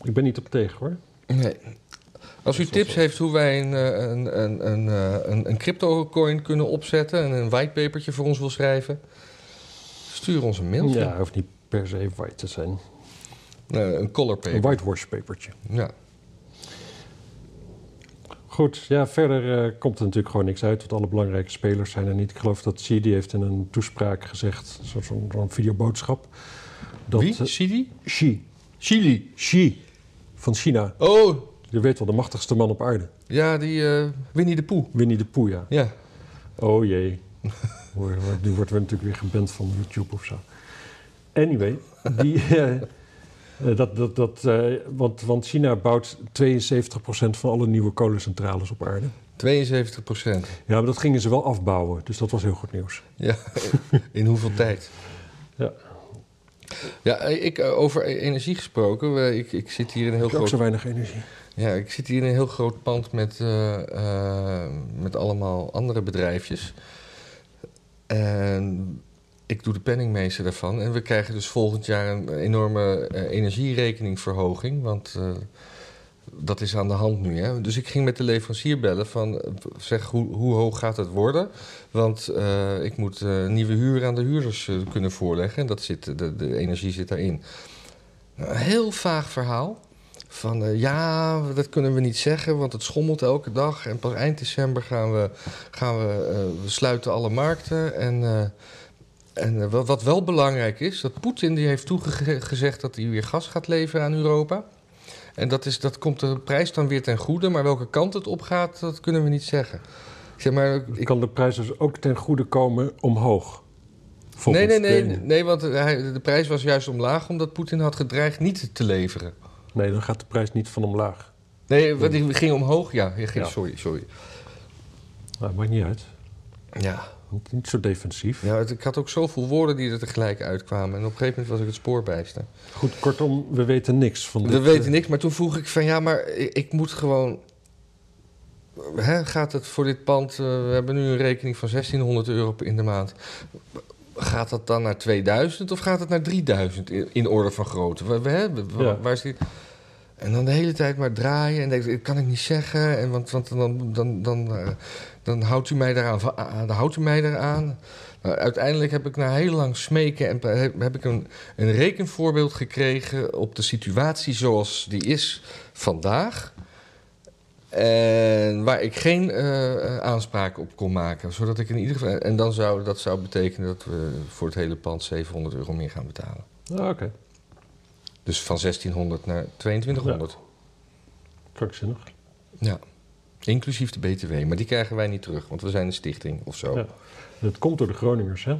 [SPEAKER 1] Ik ben niet op tegen, hoor.
[SPEAKER 2] Nee. Als u
[SPEAKER 1] Dat is wel
[SPEAKER 2] tips
[SPEAKER 1] zo.
[SPEAKER 2] heeft hoe wij een, eh, een, een, een, eh, een, een crypto-coin kunnen opzetten... en een whitepapertje voor ons wil schrijven... stuur ons een mailtje.
[SPEAKER 1] Ja, hoeft niet per se white te zijn.
[SPEAKER 2] Eh, een color
[SPEAKER 1] Een
[SPEAKER 2] paper.
[SPEAKER 1] whitewash papertje.
[SPEAKER 2] Ja.
[SPEAKER 1] Goed, ja, verder eh, komt er natuurlijk gewoon niks uit, want alle belangrijke spelers zijn er niet. Ik geloof dat Sidi heeft in een toespraak gezegd, zo- zo'n zo'n videoboodschap. Dat,
[SPEAKER 2] Wie?
[SPEAKER 1] eh,
[SPEAKER 2] Sidi?
[SPEAKER 1] Xi,
[SPEAKER 2] Chili.
[SPEAKER 1] Xi van China,
[SPEAKER 2] Oh,
[SPEAKER 1] je weet wel, de machtigste man op aarde.
[SPEAKER 2] ja, die eh, Winnie de Poe.
[SPEAKER 1] Winnie de Pooh, ja.
[SPEAKER 2] Ja.
[SPEAKER 1] Oh jee, Hoor, hoor, nu worden we natuurlijk weer geband van YouTube of zo. Anyway, die, eh, eh, dat, dat, dat, eh, want, want China bouwt 72% van alle nieuwe kolencentrales op aarde.
[SPEAKER 2] 72 procent.
[SPEAKER 1] Ja, maar dat gingen ze wel afbouwen, dus dat was heel goed nieuws.
[SPEAKER 2] Ja, in hoeveel tijd?
[SPEAKER 1] Ja.
[SPEAKER 2] Ja, ik, eh, over energie gesproken. we- Ik, ik, zit hier in een heel
[SPEAKER 1] Ik heb ook
[SPEAKER 2] groot,
[SPEAKER 1] zo weinig energie.
[SPEAKER 2] ja, ik zit hier in een heel groot pand met, eh, eh, met allemaal andere bedrijfjes. En ik doe de penningmeester daarvan. En we krijgen dus volgend jaar een enorme eh, energierekeningverhoging. Want eh, dat is aan de hand nu. Hè? Dus ik ging met de leverancier bellen van... eh, zeg, hoe, hoe hoog gaat het worden? Want eh, ik moet eh, nieuwe huur aan de huurders eh, kunnen voorleggen. En dat zit, de, de energie zit daarin. Nou, Een heel vaag verhaal. Van eh, ja, dat kunnen we niet zeggen, want het schommelt elke dag. En pas eind december gaan we, gaan we, eh, we sluiten alle markten. En, eh, en eh, wat- wat wel belangrijk is, dat Poetin die heeft toegezegd dat hij weer gas gaat leveren aan Europa. En dat, is, dat komt de prijs dan weer ten goede, maar welke kant het op gaat, dat kunnen we niet zeggen. Ik zeg maar, ik,
[SPEAKER 1] Kan de prijs dus ook ten goede komen omhoog?
[SPEAKER 2] Nee,
[SPEAKER 1] Volgens
[SPEAKER 2] nee, nee,
[SPEAKER 1] de-
[SPEAKER 2] nee, want hij- de prijs was juist omlaag omdat Poetin had gedreigd niet te leveren.
[SPEAKER 1] Nee, dan gaat de prijs niet van omlaag.
[SPEAKER 2] Nee, want die ging omhoog, ja. die ging-
[SPEAKER 1] Ja.
[SPEAKER 2] Sorry, sorry.
[SPEAKER 1] Nou, maakt niet uit.
[SPEAKER 2] Ja.
[SPEAKER 1] Want Niet zo defensief.
[SPEAKER 2] ja het- ik had ook zoveel woorden die er tegelijk uitkwamen. En op een gegeven moment was ik het spoor bijster.
[SPEAKER 1] Goed, kortom, we weten niks van dit.
[SPEAKER 2] We weten
[SPEAKER 1] eh,
[SPEAKER 2] niks, maar toen vroeg ik van ja, maar ik, ik moet gewoon. Hè, gaat het voor dit pand? eh, we hebben nu een rekening van 1600 euro in de maand. Gaat dat dan naar 2000 of gaat het naar 3000 in, in orde van grootte? We, we, hè, we-
[SPEAKER 1] Ja.
[SPEAKER 2] Waar is die? En dan de hele tijd maar draaien en denk, ik, kan ik niet zeggen. En want, want dan, dan, dan, eh, dan houdt u mij daaraan. va- ah, Dan houdt u mij daaraan. Nou, uiteindelijk heb ik na heel lang smeken en pe- heb, heb ik een, een rekenvoorbeeld gekregen op de situatie zoals die is vandaag. En waar ik geen eh, aanspraak op kon maken. Zodat ik in ieder geval. En dan zou dat zou betekenen dat we voor het hele pand 700 euro meer gaan betalen.
[SPEAKER 1] ah, Oké,
[SPEAKER 2] Dus van 1600 naar 2200.
[SPEAKER 1] krankzinnig.
[SPEAKER 2] Ja. Inclusief de BTW. Maar die krijgen wij niet terug, want we zijn een stichting of zo.
[SPEAKER 1] Ja. Dat komt door de Groningers, hè?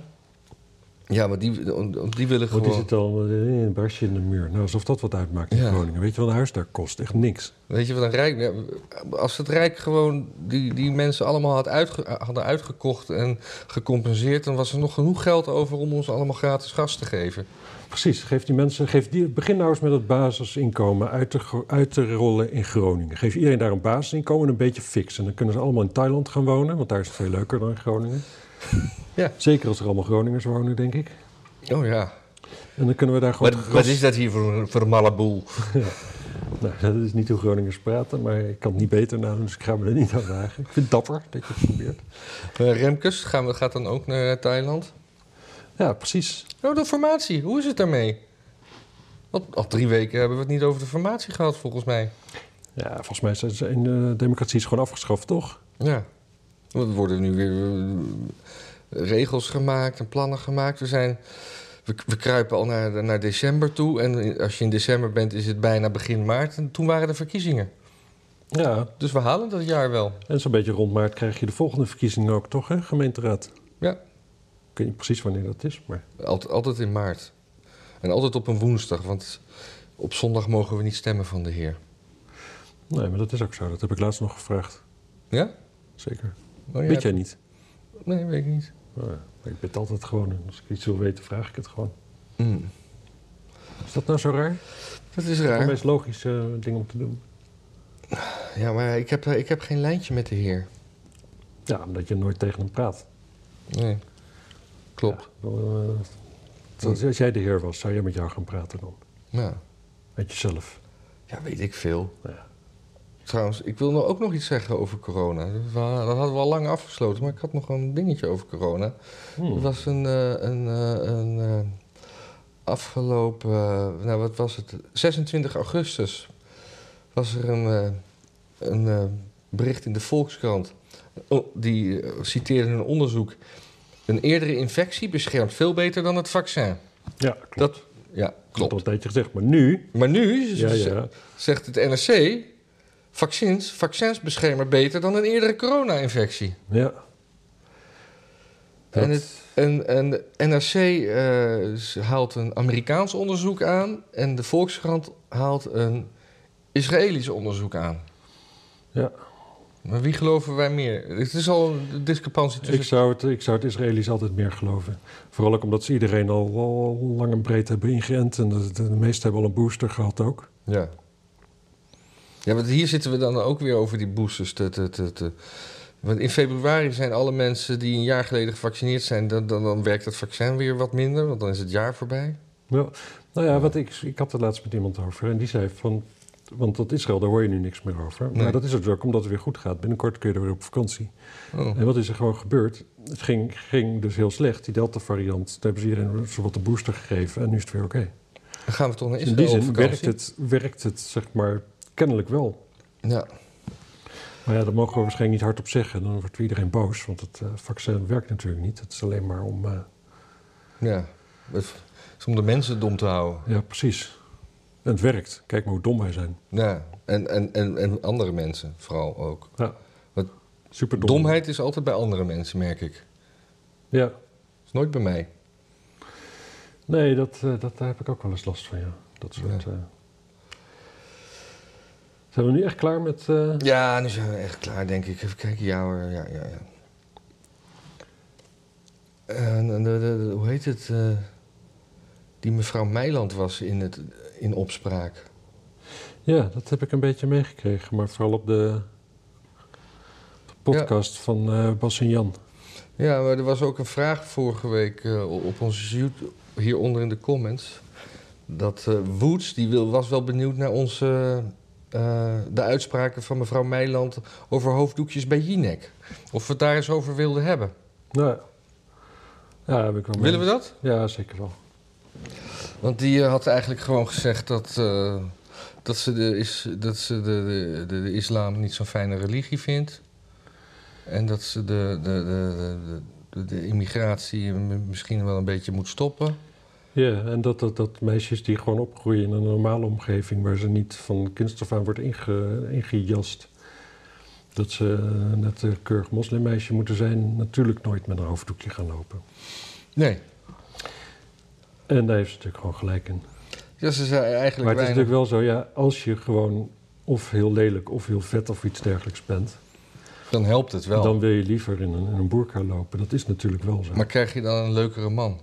[SPEAKER 2] Ja, maar die, die willen
[SPEAKER 1] Want die
[SPEAKER 2] gewoon...
[SPEAKER 1] zit al in een barsje in de muur. Nou, alsof dat wat uitmaakt in
[SPEAKER 2] Ja.
[SPEAKER 1] Groningen. Weet je wat een huis daar kost? Echt niks.
[SPEAKER 2] Weet je wat een Rijk... ja, Als het Rijk gewoon die, die mensen allemaal had uitge- hadden uitgekocht en gecompenseerd... dan was er nog genoeg geld over om ons allemaal gratis gas te geven.
[SPEAKER 1] Precies, geef die mensen, geef die, begin nou eens met het basisinkomen uit te, gro- uit te rollen in Groningen. Geef iedereen daar een basisinkomen en een beetje fix. En dan kunnen ze allemaal in Thailand gaan wonen, want daar is het veel leuker dan in Groningen.
[SPEAKER 2] Ja.
[SPEAKER 1] Zeker als er allemaal Groningers wonen, denk ik.
[SPEAKER 2] Oh ja.
[SPEAKER 1] En dan kunnen we daar gewoon...
[SPEAKER 2] Wat,
[SPEAKER 1] gras-
[SPEAKER 2] wat is dat hier voor, een- voor een malle boel?
[SPEAKER 1] Nou, dat is niet hoe Groningers praten, maar ik kan het niet beter nou, dus ik ga me er niet aan wagen. Ik vind het dapper dat je het probeert.
[SPEAKER 2] Eh, Remkes gaan we, gaat dan ook naar eh, Thailand.
[SPEAKER 1] Ja, precies.
[SPEAKER 2] Oh, de formatie. Hoe is het daarmee? Al, al drie weken hebben we het niet over de formatie gehad, volgens mij.
[SPEAKER 1] Ja, volgens mij zijn ze in de democratie is gewoon afgeschaft, toch?
[SPEAKER 2] Ja. Er worden nu weer eh, regels gemaakt en plannen gemaakt. We, zijn, we, we kruipen al naar, naar december toe. En in- als je in december bent, is het bijna begin maart. En toen waren de verkiezingen.
[SPEAKER 1] Ja,
[SPEAKER 2] Dus we halen dat jaar wel.
[SPEAKER 1] en zo'n beetje rond maart krijg je de volgende verkiezingen ook, toch, hè? Gemeenteraad.
[SPEAKER 2] Ja.
[SPEAKER 1] Ik weet niet precies wanneer dat is, maar...
[SPEAKER 2] Altijd, altijd in maart. En altijd op een woensdag, want op zondag mogen we niet stemmen van de heer.
[SPEAKER 1] Nee, maar dat is ook zo. Dat heb ik laatst nog gevraagd.
[SPEAKER 2] Ja?
[SPEAKER 1] Zeker.
[SPEAKER 2] Oh, ja.
[SPEAKER 1] Weet jij niet?
[SPEAKER 2] Nee, weet ik niet.
[SPEAKER 1] Oh, ja. Maar ik ben het altijd gewoon. En als ik iets wil weten, vraag ik het gewoon.
[SPEAKER 2] Mm.
[SPEAKER 1] Is dat nou zo raar?
[SPEAKER 2] Dat is
[SPEAKER 1] Het
[SPEAKER 2] raar.
[SPEAKER 1] meest logische eh, ding om te doen.
[SPEAKER 2] Ja, maar ik heb, eh, ik heb geen lijntje met de heer.
[SPEAKER 1] Ja, omdat je nooit tegen hem praat.
[SPEAKER 2] Nee. Klopt.
[SPEAKER 1] Ja, wel, eh, zoals- als jij de heer was, zou jij met jou gaan praten dan?
[SPEAKER 2] Ja. Nou,
[SPEAKER 1] Met jezelf.
[SPEAKER 2] ja, weet ik veel.
[SPEAKER 1] Ja.
[SPEAKER 2] Trouwens, ik wil nou ook nog iets zeggen over corona. We- Dat hadden we al lang afgesloten, maar ik had nog een dingetje over corona. Er
[SPEAKER 1] Hmm.
[SPEAKER 2] was een, eh, een, eh, een eh, afgelopen, eh, nou wat was het, 26 augustus was er een, eh, een eh, bericht in de Volkskrant. Oh, Die eh, citeerde een onderzoek. Een eerdere infectie beschermt veel beter dan het vaccin.
[SPEAKER 1] Ja, klopt.
[SPEAKER 2] Dat,
[SPEAKER 1] Dat
[SPEAKER 2] ja,
[SPEAKER 1] heb ik al
[SPEAKER 2] klopt.
[SPEAKER 1] een tijdje gezegd. Maar nu...
[SPEAKER 2] Maar nu
[SPEAKER 1] Ja, ja.
[SPEAKER 2] zegt het NRC... Vaccins, vaccins beschermen beter dan een eerdere corona-infectie.
[SPEAKER 1] ja. Dat-
[SPEAKER 2] En, het, en, en de NRC eh, s- haalt een Amerikaans onderzoek aan... en de Volkskrant haalt een Israëlisch onderzoek aan.
[SPEAKER 1] Ja.
[SPEAKER 2] Maar wie geloven wij meer? Het is al een discrepantie tussen...
[SPEAKER 1] Ik zou, het, ik zou het Israëli's altijd meer geloven. Vooral ook omdat ze iedereen al, al lang en breed hebben ingeënt. En de, de meesten hebben al een booster gehad ook.
[SPEAKER 2] Ja. Ja, want hier zitten we dan ook weer over die boosters. Te, te, te, te. Want in februari zijn alle mensen die een jaar geleden gevaccineerd zijn... dan, dan, dan werkt het vaccin weer wat minder, want dan is het jaar voorbij.
[SPEAKER 1] Ja. Nou ja, wat ik, ik had het laatst met iemand over. En die zei van, want dat Israël, daar hoor je nu niks meer over. Maar
[SPEAKER 2] Nee.
[SPEAKER 1] dat is het ook omdat het weer goed gaat. Binnenkort kun je er weer op vakantie.
[SPEAKER 2] Oh.
[SPEAKER 1] En wat is er gewoon gebeurd? Het ging, ging dus heel slecht, die Delta-variant. Daar hebben ze iedereen zowat de booster gegeven en nu is het weer oké.
[SPEAKER 2] Dan gaan we toch naar
[SPEAKER 1] Dus in
[SPEAKER 2] Israël
[SPEAKER 1] die
[SPEAKER 2] op
[SPEAKER 1] zin
[SPEAKER 2] vakantie.
[SPEAKER 1] werkt het, werkt het, zeg maar, kennelijk wel.
[SPEAKER 2] Ja.
[SPEAKER 1] Maar ja, daar mogen we waarschijnlijk niet hard op zeggen. Dan wordt iedereen boos, want het eh, vaccin werkt natuurlijk niet. Het is alleen maar om... eh,
[SPEAKER 2] ja. Het is om de mensen dom te houden.
[SPEAKER 1] ja, precies. En het werkt. Kijk maar hoe dom wij zijn.
[SPEAKER 2] Ja. En, en, en, en andere mensen vooral ook.
[SPEAKER 1] Ja.
[SPEAKER 2] Wat-
[SPEAKER 1] Super dom.
[SPEAKER 2] Domheid is altijd bij andere mensen, merk ik.
[SPEAKER 1] Ja.
[SPEAKER 2] is nooit bij mij.
[SPEAKER 1] Nee, dat, eh, dat, daar heb ik ook wel eens last van, ja. Dat soort... eh. Zijn we nu echt klaar met... eh,
[SPEAKER 2] Ja, nu zijn we echt klaar, denk ik. Even kijken, ja hoor. Ja, ja, ja. En, en Eh, de, de- de- hoe heet het? eh, die mevrouw Meiland was in, het, in opspraak.
[SPEAKER 1] Ja, dat heb ik een beetje meegekregen. Maar vooral op de, de podcast van eh, Bas en Jan.
[SPEAKER 2] Ja, maar er was ook een vraag vorige week eh, op onze YouTube, hieronder in de comments. Dat eh, Woods, die wil, was wel benieuwd naar onze, eh, de uitspraken van mevrouw Meiland over hoofddoekjes bij Jinek. Of we het daar eens over wilden hebben.
[SPEAKER 1] Nou, ja, heb ik wel mee.
[SPEAKER 2] Willen we dat?
[SPEAKER 1] Ja, zeker wel.
[SPEAKER 2] Want die eh, had eigenlijk gewoon gezegd dat, eh, dat ze, de, is, dat ze de, de, de, de islam niet zo'n fijne religie vindt. En dat ze de, de, de, de, de, de immigratie m- misschien wel een beetje moet stoppen.
[SPEAKER 1] Ja, en dat, dat, dat meisjes die gewoon opgroeien in een normale omgeving... waar ze niet van kinds af aan wordt inge, ingejast... dat ze eh, net een keurig moslimmeisje moeten zijn... natuurlijk nooit met een hoofddoekje gaan lopen.
[SPEAKER 2] Nee.
[SPEAKER 1] En daar heeft ze natuurlijk gewoon gelijk in.
[SPEAKER 2] Ja, ze zijn
[SPEAKER 1] Maar het
[SPEAKER 2] eigenlijk
[SPEAKER 1] is
[SPEAKER 2] weinig-
[SPEAKER 1] natuurlijk wel zo, ja, als je gewoon of heel lelijk of heel vet of iets dergelijks bent,
[SPEAKER 2] Dan helpt het wel.
[SPEAKER 1] dan wil je liever in een, in een boerka lopen. Dat is natuurlijk wel zo.
[SPEAKER 2] Maar krijg je dan een leukere man?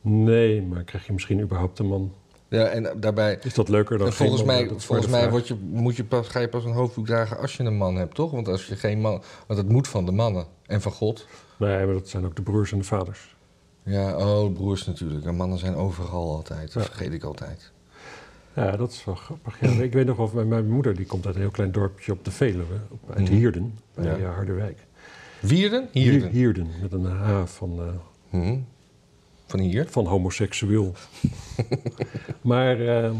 [SPEAKER 1] Nee, maar krijg je misschien überhaupt een man?
[SPEAKER 2] Ja, en daarbij...
[SPEAKER 1] Is dat leuker dan
[SPEAKER 2] en volgens
[SPEAKER 1] geen man?
[SPEAKER 2] mij,
[SPEAKER 1] Dat is maar
[SPEAKER 2] volgens
[SPEAKER 1] de
[SPEAKER 2] mij
[SPEAKER 1] vraag.
[SPEAKER 2] word je, moet je pas, ga je pas een hoofddoek dragen als je een man hebt, toch? Want als je geen man... Want dat moet van de mannen. En van God.
[SPEAKER 1] Nee, maar dat zijn ook de broers en de vaders.
[SPEAKER 2] Ja, oh, broers natuurlijk. En mannen zijn overal altijd. Dat
[SPEAKER 1] Ja.
[SPEAKER 2] vergeet ik altijd.
[SPEAKER 1] Ja, dat is wel grappig. Ja, ik weet nog wel, mijn, mijn moeder die komt uit een heel klein dorpje op de Veluwe, op, uit
[SPEAKER 2] Mhm.
[SPEAKER 1] Hierden, bij
[SPEAKER 2] Ja.
[SPEAKER 1] eh, Harderwijk.
[SPEAKER 2] Wierden?
[SPEAKER 1] Hier-
[SPEAKER 2] Hierden.
[SPEAKER 1] Hierden, met een H van, eh,
[SPEAKER 2] Hm. Van hier?
[SPEAKER 1] van homoseksueel. maar ehm,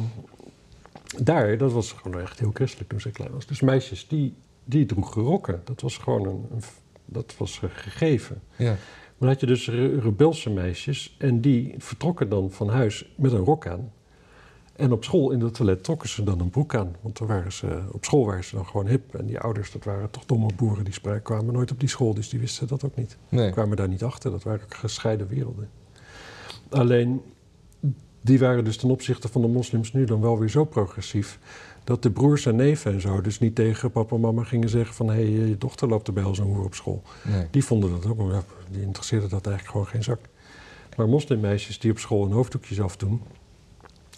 [SPEAKER 1] daar, dat was gewoon echt heel christelijk toen ze klein was. Dus meisjes, die, die droegen rokken. Dat was gewoon een, een v- dat was een gegeven.
[SPEAKER 2] Ja.
[SPEAKER 1] Maar dan had je dus re- rebelse meisjes en die vertrokken dan van huis met een rok aan. En op school in het toilet trokken ze dan een broek aan. Want dan waren ze, op school waren ze dan gewoon hip. En die ouders, dat waren toch domme boeren, die spra- kwamen nooit op die school. Dus die wisten dat ook niet
[SPEAKER 2] Nee.
[SPEAKER 1] kwamen daar niet achter. Dat waren gescheiden werelden. Alleen, die waren dus ten opzichte van de moslims nu dan wel weer zo progressief... dat de broers en neven en zo dus niet tegen papa en mama gingen zeggen van... hé, hey, eh, je dochter loopt er bij als een hoer op school.
[SPEAKER 2] nee.
[SPEAKER 1] Die vonden dat ook, ja, die interesseerde dat eigenlijk gewoon geen zak. Maar moslimmeisjes die op school hun hoofddoekjes afdoen...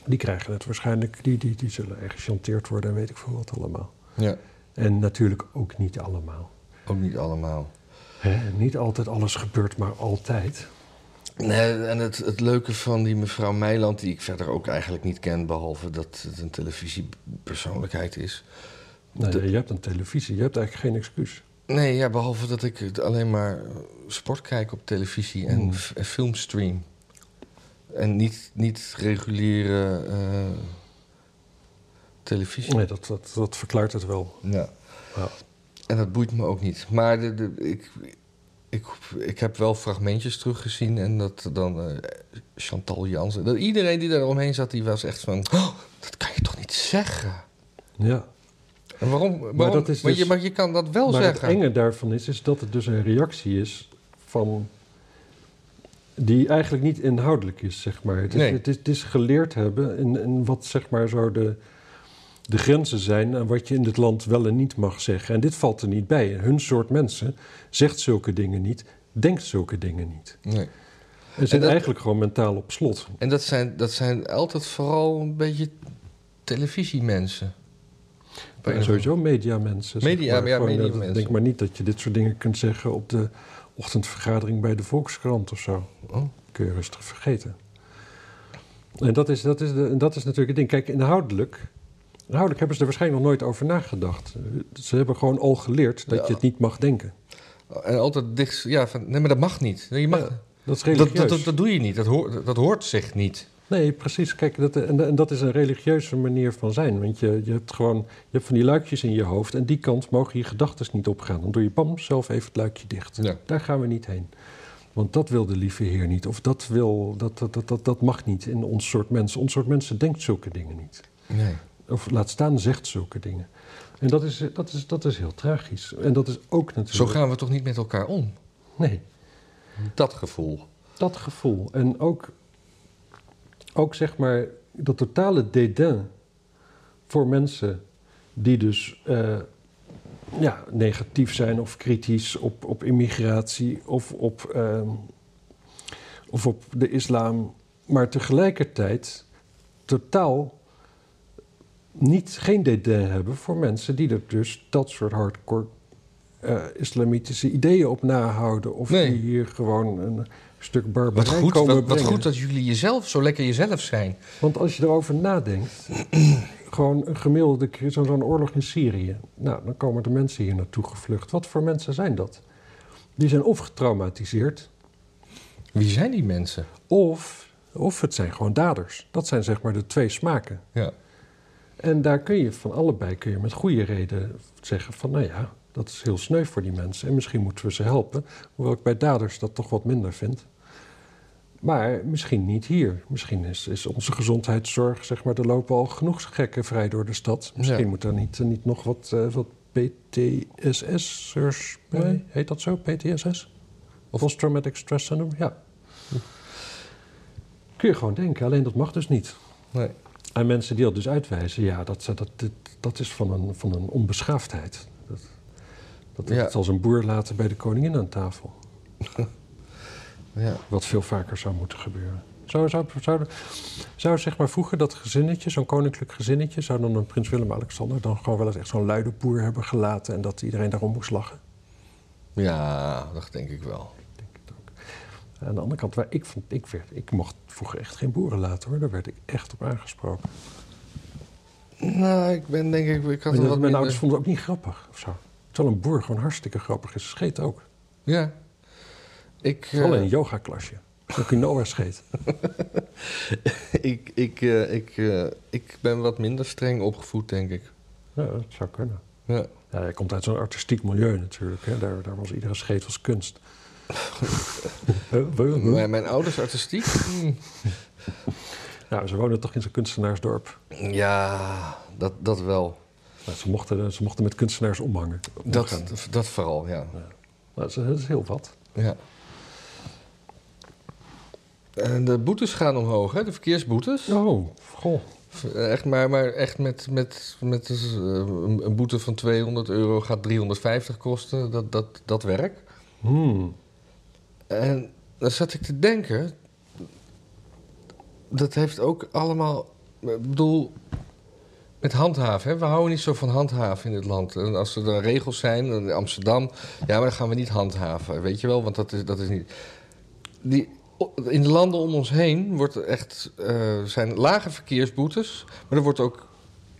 [SPEAKER 1] die krijgen het waarschijnlijk, die, die, die zullen echt gechanteerd worden en weet ik veel wat allemaal.
[SPEAKER 2] Ja.
[SPEAKER 1] En natuurlijk ook niet allemaal.
[SPEAKER 2] Ook niet allemaal.
[SPEAKER 1] Hè? Niet altijd alles gebeurt, maar altijd...
[SPEAKER 2] Nee, en het, het leuke van die mevrouw Meiland, die ik verder ook eigenlijk niet ken, behalve dat het een televisiepersoonlijkheid is.
[SPEAKER 1] Nee,
[SPEAKER 2] De-
[SPEAKER 1] je hebt een televisie, je hebt eigenlijk geen excuus.
[SPEAKER 2] Nee, ja, behalve dat ik het alleen maar eh, sport kijk op televisie en
[SPEAKER 1] Hmm.
[SPEAKER 2] f- en film stream. En niet, niet reguliere eh, televisie.
[SPEAKER 1] Nee, dat, dat, dat verklaart het wel.
[SPEAKER 2] Ja.
[SPEAKER 1] Ja.
[SPEAKER 2] En dat boeit me ook niet. Maar de, de- ik, ik, ik heb wel fragmentjes teruggezien. En dat dan eh, Chantal Jansen. Dat iedereen die daar omheen zat, die was echt van... "Oh, dat kan je toch niet zeggen?
[SPEAKER 1] Ja.
[SPEAKER 2] En waarom? waarom?
[SPEAKER 1] Maar dat is
[SPEAKER 2] maar, je,
[SPEAKER 1] dus-
[SPEAKER 2] maar je kan dat wel
[SPEAKER 1] Maar het
[SPEAKER 2] zeggen.
[SPEAKER 1] enge daarvan is, is dat het dus een reactie is van... die eigenlijk niet inhoudelijk is, zeg maar. Het is,
[SPEAKER 2] Nee.
[SPEAKER 1] het is, het is geleerd hebben in, in wat, zeg maar, zo de, de grenzen zijn... en wat je in dit land wel en niet mag zeggen. En dit valt er niet bij. Hun soort mensen zegt zulke dingen niet, denkt zulke dingen niet.
[SPEAKER 2] Nee.
[SPEAKER 1] En zit
[SPEAKER 2] dat-
[SPEAKER 1] eigenlijk gewoon mentaal op slot.
[SPEAKER 2] En dat zijn, dat zijn altijd vooral een beetje televisiemensen. Eh, Op een
[SPEAKER 1] Ja, sowieso mediamensen. zeg
[SPEAKER 2] Media,
[SPEAKER 1] maar.
[SPEAKER 2] ja,
[SPEAKER 1] Gewoon, eh,
[SPEAKER 2] mediamensen.
[SPEAKER 1] Denk maar niet dat je dit soort dingen kunt zeggen op de ochtendvergadering bij de Volkskrant of zo.
[SPEAKER 2] of andere-
[SPEAKER 1] Kun je rustig vergeten. En dat is, dat is, de, en dat is natuurlijk het ding. Kijk, inhoudelijk, inhoudelijk hebben ze er waarschijnlijk nog nooit over nagedacht. Ze hebben gewoon al geleerd dat
[SPEAKER 2] Ja.
[SPEAKER 1] je het niet mag denken.
[SPEAKER 2] Oh. En altijd dicht... Ja, van, nee, maar dat mag niet. Nee, Je mag,
[SPEAKER 1] Ja, Dat is
[SPEAKER 2] dat,
[SPEAKER 1] religieus.
[SPEAKER 2] dat, dat, dat doe je niet. Dat hoort, dat hoort zich niet.
[SPEAKER 1] Nee, precies. Kijk, dat, en, en dat is een religieuze manier van zijn. Want je, je hebt gewoon, je hebt van die luikjes in je hoofd en die kant mogen je gedachten niet opgaan. Dan doe je pam zelf even het luikje dicht.
[SPEAKER 2] Ja.
[SPEAKER 1] Daar gaan we niet heen. Want dat wil de lieve Heer niet. Of dat, wil, dat, dat, dat, dat, dat mag niet in ons soort mensen. Ons soort mensen denkt zulke dingen niet.
[SPEAKER 2] Nee.
[SPEAKER 1] Of laat staan, zegt zulke dingen. En dat is, dat is, dat is heel tragisch. En dat is ook natuurlijk.
[SPEAKER 2] Zo gaan we toch niet met elkaar om?
[SPEAKER 1] Nee.
[SPEAKER 2] Dat gevoel.
[SPEAKER 1] dat gevoel. En ook, ook zeg maar dat totale dédain voor mensen die dus eh, ja, negatief zijn of kritisch op, op immigratie of op, eh, of op de islam. Maar tegelijkertijd totaal niet, geen dédain hebben voor mensen die er dus dat soort hardcore eh, islamitische ideeën op nahouden. Of
[SPEAKER 2] Nee.
[SPEAKER 1] die hier gewoon een stuk
[SPEAKER 2] Wat
[SPEAKER 1] barbarij
[SPEAKER 2] goed,
[SPEAKER 1] komen
[SPEAKER 2] wat, wat
[SPEAKER 1] brengen.
[SPEAKER 2] goed dat jullie jezelf zo lekker jezelf zijn.
[SPEAKER 1] Want als je erover nadenkt, gewoon een gemiddelde keer zo- zo'n oorlog in Syrië. Nou, dan komen de mensen hier naartoe gevlucht. Wat voor mensen zijn dat? Die zijn of getraumatiseerd,
[SPEAKER 2] Wie zijn die mensen?
[SPEAKER 1] of, of het zijn gewoon daders. Dat zijn zeg maar de twee smaken.
[SPEAKER 2] Ja.
[SPEAKER 1] En daar kun je van allebei kun je met goede reden zeggen van, nou ja, dat is heel sneu voor die mensen en misschien moeten we ze helpen, hoewel ik bij daders dat toch wat minder vind. Maar misschien niet hier. Misschien is, is onze gezondheidszorg, zeg maar, er lopen al genoeg gekken vrij door de stad. Misschien
[SPEAKER 2] Ja.
[SPEAKER 1] moet daar niet, niet nog wat, eh, wat PTSS'ers bij. Heet dat zo, PTSS? Of Post Traumatic Stress Syndrome, ja. Kun je gewoon denken, alleen dat mag dus niet.
[SPEAKER 2] Nee.
[SPEAKER 1] En mensen die dat dus uitwijzen, ja, dat, dat, dat, dat is van een, van een onbeschaafdheid. Dat, dat is
[SPEAKER 2] Ja.
[SPEAKER 1] het als een boer laten bij de koningin aan tafel.
[SPEAKER 2] Ja.
[SPEAKER 1] Wat veel vaker zou moeten gebeuren. Zou, zou, zou, zou zeg maar vroeger dat gezinnetje, zo'n koninklijk gezinnetje... zou dan een prins Willem-Alexander dan gewoon wel eens echt zo'n luide boer hebben gelaten... en dat iedereen daarom moest lachen?
[SPEAKER 2] ja, dat denk ik wel.
[SPEAKER 1] Ik denk het ook. Aan de andere kant, waar ik, vond, ik, werd, ik mocht vroeger echt geen boeren laten hoor. Daar werd ik echt op aangesproken.
[SPEAKER 2] Nou, ik ben denk ik... Ik had
[SPEAKER 1] Mijn
[SPEAKER 2] er wat
[SPEAKER 1] mijn
[SPEAKER 2] minder-
[SPEAKER 1] ouders vonden het ook niet grappig of zo. Terwijl een boer gewoon hartstikke grappig is. Scheet ook.
[SPEAKER 2] Ja. Ik, eh,
[SPEAKER 1] Vooral in een yogaklasje. Dan quinoa scheet.
[SPEAKER 2] ik, ik, eh, ik, eh, ik ben wat minder streng opgevoed, denk ik.
[SPEAKER 1] Ja, dat zou kunnen.
[SPEAKER 2] Ja.
[SPEAKER 1] Ja, hij komt uit zo'n artistiek milieu natuurlijk. Hè. Daar, daar was iedere scheet was kunst.
[SPEAKER 2] Mijn, mijn ouders artistiek? Hm.
[SPEAKER 1] nou, ze wonen toch in zo'n kunstenaarsdorp.
[SPEAKER 2] Ja, dat, dat wel.
[SPEAKER 1] Nou, ze, mochten, ze mochten met kunstenaars omhangen.
[SPEAKER 2] Dat, dat vooral, ja.
[SPEAKER 1] Nou, dat, is, dat is heel wat.
[SPEAKER 2] ja. En de boetes gaan omhoog, hè? De verkeersboetes.
[SPEAKER 1] Oh, goh.
[SPEAKER 2] Echt, maar, maar echt met, met, met eh, een een boete van 200 euro gaat 350 kosten. Dat, dat, dat werk.
[SPEAKER 1] Hmm.
[SPEAKER 2] En dan zat ik te denken. Dat heeft ook allemaal. Ik bedoel. Met handhaven. Hè? We houden niet zo van handhaven in dit land. En als er dan regels zijn. dan In Amsterdam. Ja, maar dan gaan we niet handhaven. Weet je wel? Want dat is, dat is niet. Die, in de landen om ons heen wordt er echt, eh, zijn lage verkeersboetes. Maar er wordt ook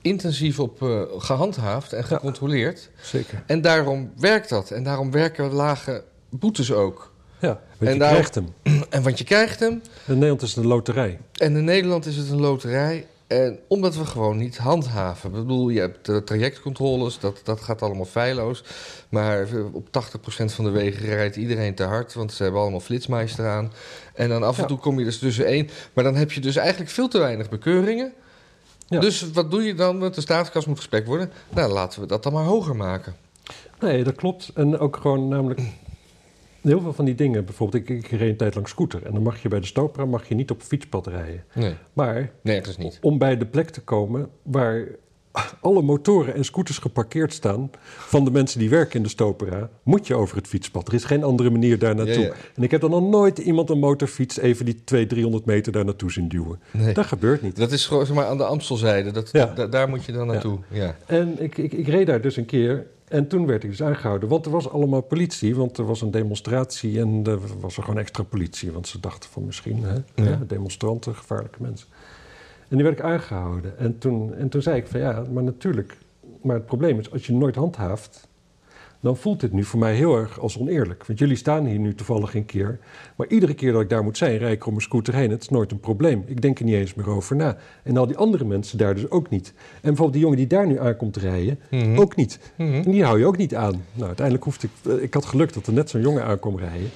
[SPEAKER 2] intensief op eh, gehandhaafd en gecontroleerd.
[SPEAKER 1] Zeker.
[SPEAKER 2] En daarom werkt dat. En daarom werken lage boetes ook.
[SPEAKER 1] Ja, want je
[SPEAKER 2] daar-
[SPEAKER 1] krijgt hem.
[SPEAKER 2] En want je krijgt hem.
[SPEAKER 1] In Nederland is het een loterij.
[SPEAKER 2] En in Nederland is het een loterij. En omdat we gewoon niet handhaven. Ik bedoel, je hebt eh, trajectcontroles, dat, dat gaat allemaal feilloos. Maar op 80% van de wegen rijdt iedereen te hard, want ze hebben allemaal flitsmeister aan. En dan af en
[SPEAKER 1] Ja.
[SPEAKER 2] toe kom je dus tussen één. Maar dan heb je dus eigenlijk veel te weinig bekeuringen.
[SPEAKER 1] Ja.
[SPEAKER 2] Dus wat doe je dan? Want de staatskas moet gespekt worden. Nou, laten we dat dan maar hoger maken.
[SPEAKER 1] Nee, dat klopt. En ook gewoon namelijk... Heel veel van die dingen, bijvoorbeeld, ik, ik reed een tijd lang scooter. En dan mag je bij de Stopra mag je niet op fietspad rijden.
[SPEAKER 2] Nee,
[SPEAKER 1] Maar
[SPEAKER 2] nergens niet.
[SPEAKER 1] om bij de plek te komen waar alle motoren en scooters geparkeerd staan van de mensen die werken in de Stopera, moet je over het fietspad. Er is geen andere manier daar naartoe.
[SPEAKER 2] Ja, ja.
[SPEAKER 1] En ik heb dan nog nooit iemand een motorfiets even die 200, 300 meter daar naartoe zien duwen.
[SPEAKER 2] Nee.
[SPEAKER 1] Dat gebeurt niet.
[SPEAKER 2] Dat is gewoon zeg maar, aan de Amstelzijde. Dat,
[SPEAKER 1] Ja.
[SPEAKER 2] da- daar moet je dan naartoe. Ja.
[SPEAKER 1] En ik, ik, ik reed daar dus een keer. En toen werd ik dus aangehouden. Want er was allemaal politie. Want er was een demonstratie. En er was er gewoon extra politie. Want ze dachten van misschien hè,
[SPEAKER 2] Ja.
[SPEAKER 1] hè, demonstranten, gevaarlijke mensen. En die werd ik aangehouden. En toen, en toen zei ik van ja, maar natuurlijk. Maar het probleem is, als je nooit handhaaft. Dan voelt dit nu voor mij heel erg als oneerlijk. Want jullie staan hier nu toevallig een keer. Maar iedere keer dat ik daar moet zijn, rijd ik om mijn scooter heen. Het is nooit een probleem. Ik denk er niet eens meer over na. En al die andere mensen daar dus ook niet. En bijvoorbeeld die jongen die daar nu aankomt rijden,
[SPEAKER 2] Mhm.
[SPEAKER 1] ook niet.
[SPEAKER 2] Mhm.
[SPEAKER 1] En die hou je ook niet aan. Nou, uiteindelijk hoefde ik... eh, Ik had geluk dat er net zo'n jongen aankwam rijden.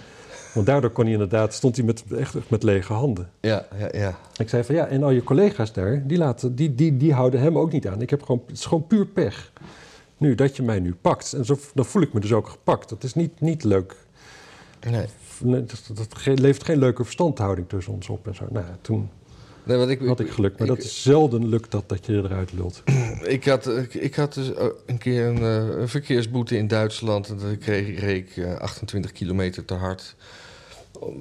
[SPEAKER 1] Want daardoor kon hij inderdaad, stond hij met, echt echt met lege handen.
[SPEAKER 2] Ja, ja, ja.
[SPEAKER 1] Ik zei van ja, en al je collega's daar, die, laten, die, die, die houden hem ook niet aan. Ik heb gewoon, het is gewoon puur pech. Nu, dat je mij nu pakt. En zo, dan voel ik me dus ook gepakt. Dat is niet, niet leuk.
[SPEAKER 2] Nee.
[SPEAKER 1] Nee, Dat, dat, dat ge- levert geen leuke verstandhouding tussen ons op en zo. Nou, ja, toen
[SPEAKER 2] Nee, want ik,
[SPEAKER 1] had ik geluk. Maar
[SPEAKER 2] ik-
[SPEAKER 1] dat is zelden lukt dat, dat je eruit lult.
[SPEAKER 2] Ik had, ik, ik had dus eh, een keer een, eh, een verkeersboete in Duitsland. En dan kreeg, reed ik eh, 28 kilometer te hard.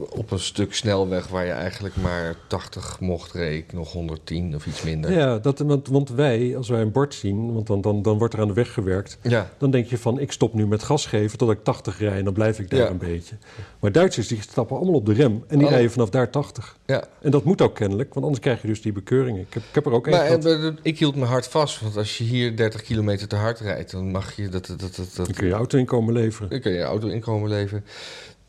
[SPEAKER 2] Op een stuk snelweg waar je eigenlijk maar 80 mocht, reed ik nog 110 of iets minder.
[SPEAKER 1] Ja, dat, want, want wij, als wij een bord zien, want dan, dan, dan wordt er aan de weg gewerkt.
[SPEAKER 2] Ja,
[SPEAKER 1] Dan denk je van, ik stop nu met gas geven tot ik 80 rij en dan blijf ik daar
[SPEAKER 2] Ja.
[SPEAKER 1] een beetje. Maar Duitsers die stappen allemaal op de rem en die
[SPEAKER 2] Oh.
[SPEAKER 1] rijden vanaf daar 80.
[SPEAKER 2] ja.
[SPEAKER 1] En dat moet ook kennelijk, want anders krijg je dus die bekeuringen. Ik heb, ik heb er ook één
[SPEAKER 2] Maar
[SPEAKER 1] gehad.
[SPEAKER 2] eh, eh, ik hield me hard vast, want als je hier 30 kilometer te hard rijdt, dan mag je dat, dat, dat, dat,
[SPEAKER 1] Dan kun je auto inkomen leveren.
[SPEAKER 2] dan kun je auto inkomen leven.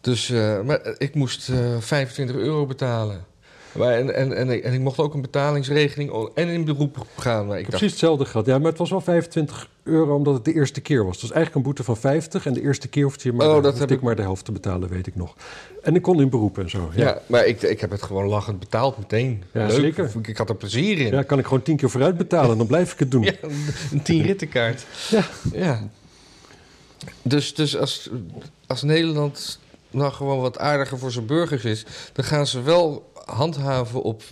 [SPEAKER 2] Dus, eh, maar eh, ik moest eh, 25 euro betalen. Maar en, en, en, ik- en ik mocht ook een betalingsregeling o- en in beroep gaan. Maar ik
[SPEAKER 1] Ik heb
[SPEAKER 2] dacht,
[SPEAKER 1] precies hetzelfde gehad. Ja, maar het was wel 25 euro omdat het de eerste keer was. Dus eigenlijk een boete van 50. En de eerste keer hoefde, je maar,
[SPEAKER 2] Oh,
[SPEAKER 1] de-
[SPEAKER 2] dat
[SPEAKER 1] hoefde
[SPEAKER 2] heb
[SPEAKER 1] ik
[SPEAKER 2] ik-
[SPEAKER 1] maar de helft te betalen, weet ik nog. En ik kon in beroep en zo. Ja,
[SPEAKER 2] Ja, maar ik, ik heb het gewoon lachend betaald meteen.
[SPEAKER 1] Ja,
[SPEAKER 2] Leuk.
[SPEAKER 1] zeker.
[SPEAKER 2] Ik, ik had er plezier in.
[SPEAKER 1] ja kan ik gewoon tien keer vooruit betalen. Dan blijf ik het doen.
[SPEAKER 2] Ja, een tien rittenkaart.
[SPEAKER 1] Ja.
[SPEAKER 2] ja. Dus, dus als, als Nederland nou gewoon wat aardiger voor zijn burgers is... dan gaan ze wel handhaven op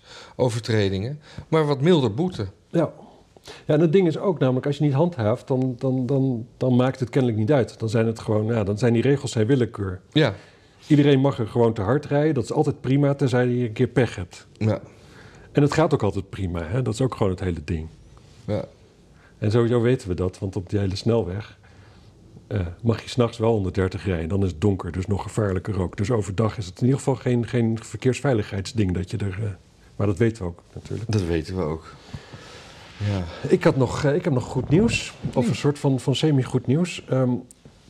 [SPEAKER 2] verkeersovertredingen, maar wat milder boeten.
[SPEAKER 1] Ja. Ja, en het ding is ook namelijk, als je niet handhaaft, dan, dan, dan, dan maakt het kennelijk niet uit. Dan zijn het gewoon, ja, dan zijn die regels zijn willekeur.
[SPEAKER 2] Ja,
[SPEAKER 1] Iedereen mag er gewoon te hard rijden, dat is altijd prima, tenzij je een keer pech hebt.
[SPEAKER 2] ja,
[SPEAKER 1] En het gaat ook altijd prima, hè? dat is ook gewoon het hele ding.
[SPEAKER 2] ja.
[SPEAKER 1] En sowieso weten we dat, want op die hele snelweg eh, mag je s'nachts wel 130 rijden. Dan is het donker, dus nog gevaarlijker ook. Dus overdag is het in ieder geval geen, geen verkeersveiligheidsding dat je er. eh, maar dat weten we ook natuurlijk.
[SPEAKER 2] dat weten we ook. Ja.
[SPEAKER 1] Ik, had nog, eh, ik heb nog goed nieuws, of een soort van, van semi-goed nieuws. Ehm,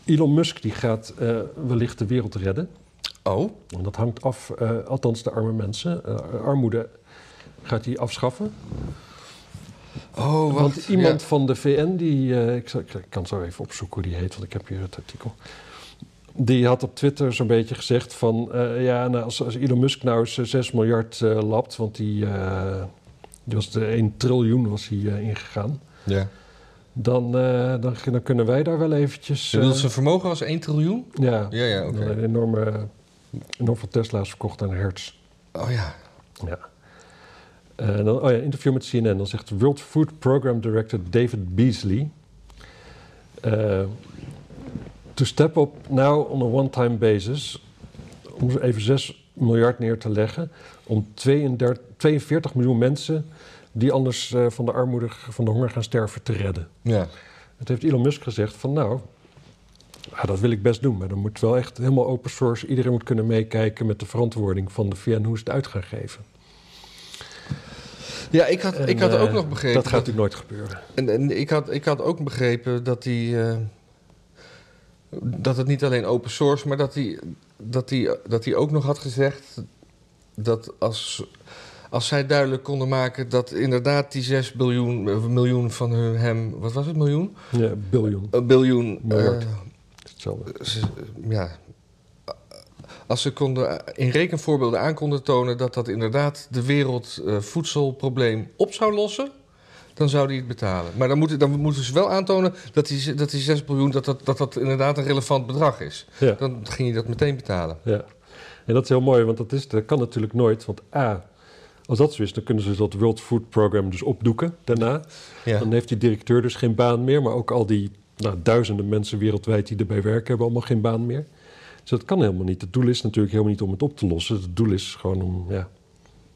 [SPEAKER 1] Elon Musk die gaat eh, wellicht de wereld redden.
[SPEAKER 2] Oh,
[SPEAKER 1] En dat hangt af, eh, althans de arme mensen. Eh, armoede gaat hij afschaffen.
[SPEAKER 2] oh,
[SPEAKER 1] Want
[SPEAKER 2] wacht.
[SPEAKER 1] iemand van de VN, die, eh, ik, zal- ik kan zo even opzoeken hoe die heet, want ik heb hier het artikel. Die had op Twitter zo'n beetje gezegd van... eh, ja, nou, als, als Elon Musk nou eens eh, 6 miljard eh, lapt... want die, eh, die was de 1 triljoen was hij eh, ingegaan...
[SPEAKER 2] Ja. ja.
[SPEAKER 1] Dan, eh, dan, dan kunnen wij daar wel eventjes...
[SPEAKER 2] Je bedoelt
[SPEAKER 1] eh,
[SPEAKER 2] zijn vermogen was 1 triljoen?
[SPEAKER 1] ja,
[SPEAKER 2] Ja, ja, oké.
[SPEAKER 1] dan een enorme, enorm veel Tesla's verkocht aan Hertz.
[SPEAKER 2] Oh ja.
[SPEAKER 1] Ja. Eh, dan, oh ja, interview met CNN. Dan zegt World Food Program Director David Beasley... eh, to step up now on a one-time basis... om zo even 6 miljard neer te leggen... om 32, 42 miljoen mensen... die anders eh, van de armoede, van de honger gaan sterven, te redden.
[SPEAKER 2] Ja.
[SPEAKER 1] Het heeft Elon Musk gezegd van nou... ja, dat wil ik best doen, maar dan moet wel echt helemaal open source. Iedereen moet kunnen meekijken met de verantwoording van de VN hoe ze het uit gaan geven.
[SPEAKER 2] Ja, ik had, ik had
[SPEAKER 1] En,
[SPEAKER 2] ook
[SPEAKER 1] eh,
[SPEAKER 2] nog begrepen.
[SPEAKER 1] Dat gaat natuurlijk nooit gebeuren.
[SPEAKER 2] En, en ik, had, ik had ook begrepen dat die. eh, dat het niet alleen open source, maar dat hij dat die, dat die ook nog had gezegd. dat als, als zij duidelijk konden maken dat inderdaad die 6 biljoen, eh, miljoen van hun, hem. wat was het, miljoen?
[SPEAKER 1] Ja, biljoen.
[SPEAKER 2] Een biljoen.
[SPEAKER 1] Miljard.
[SPEAKER 2] eh,
[SPEAKER 1] Hetzelfde.
[SPEAKER 2] ze- ja. Als ze konden in rekenvoorbeelden aan konden tonen dat dat inderdaad de wereldvoedselprobleem op zou lossen, dan zou die het betalen. Maar dan moeten, dan moeten ze wel aantonen dat die, dat die 6 miljoen dat dat, dat dat inderdaad een relevant bedrag is.
[SPEAKER 1] Ja,
[SPEAKER 2] Dan ging je dat meteen betalen.
[SPEAKER 1] ja. En dat is heel mooi, want dat, is, dat kan natuurlijk nooit. Want A, als dat zo is, dan kunnen ze dat World Food Program dus opdoeken daarna.
[SPEAKER 2] Ja.
[SPEAKER 1] Dan heeft die directeur dus geen baan meer, maar ook al die nou, duizenden mensen wereldwijd die erbij werken, hebben allemaal geen baan meer. Dus dat kan helemaal niet. Het doel is natuurlijk helemaal niet om het op te lossen. Het doel is gewoon om ja,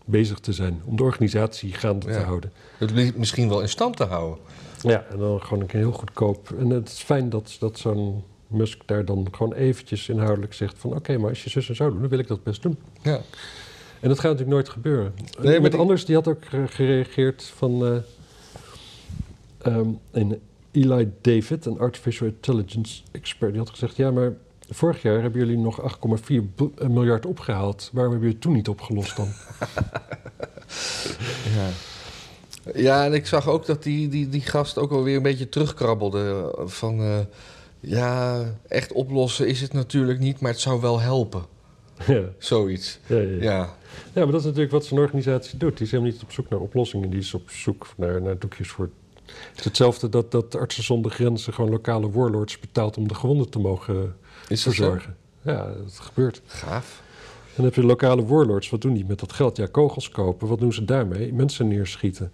[SPEAKER 1] bezig te zijn, om de organisatie gaande te
[SPEAKER 2] Ja.
[SPEAKER 1] houden.
[SPEAKER 2] Het li- misschien wel in stand te houden.
[SPEAKER 1] Ja, en dan gewoon een keer heel goedkoop. En het is fijn dat, dat zo'n Musk daar dan gewoon eventjes inhoudelijk zegt van... oké, maar als je zus en zo doet, dan wil ik dat best doen.
[SPEAKER 2] Ja.
[SPEAKER 1] En dat gaat natuurlijk nooit gebeuren.
[SPEAKER 2] maar
[SPEAKER 1] Nee, Iemand
[SPEAKER 2] die-
[SPEAKER 1] anders die had ook eh, gereageerd van... eh, ehm, en Eli David, een artificial intelligence expert, die had gezegd... ja, maar vorig jaar hebben jullie nog 8,4 bil- eh, miljard opgehaald. Waarom hebben jullie het toen niet opgelost dan?
[SPEAKER 2] Ja. ja, en ik zag ook dat die, die, die gast ook alweer een beetje terugkrabbelde. eh, Van eh, ja, echt oplossen is het natuurlijk niet, maar het zou wel helpen.
[SPEAKER 1] ja,
[SPEAKER 2] Zoiets.
[SPEAKER 1] ja, ja.
[SPEAKER 2] Ja,
[SPEAKER 1] Ja, maar dat is natuurlijk wat zo'n organisatie doet. Die is helemaal niet op zoek naar oplossingen. Die is op zoek naar, naar doekjes voor... Het is hetzelfde dat, dat Artsen zonder Grenzen gewoon lokale warlords betaalt... om de gewonden te mogen
[SPEAKER 2] is dat zo?
[SPEAKER 1] verzorgen. Ja, dat gebeurt.
[SPEAKER 2] Gaaf.
[SPEAKER 1] En dan heb je lokale warlords. Wat doen die met dat geld? Ja, kogels kopen. Wat doen ze daarmee? Mensen neerschieten.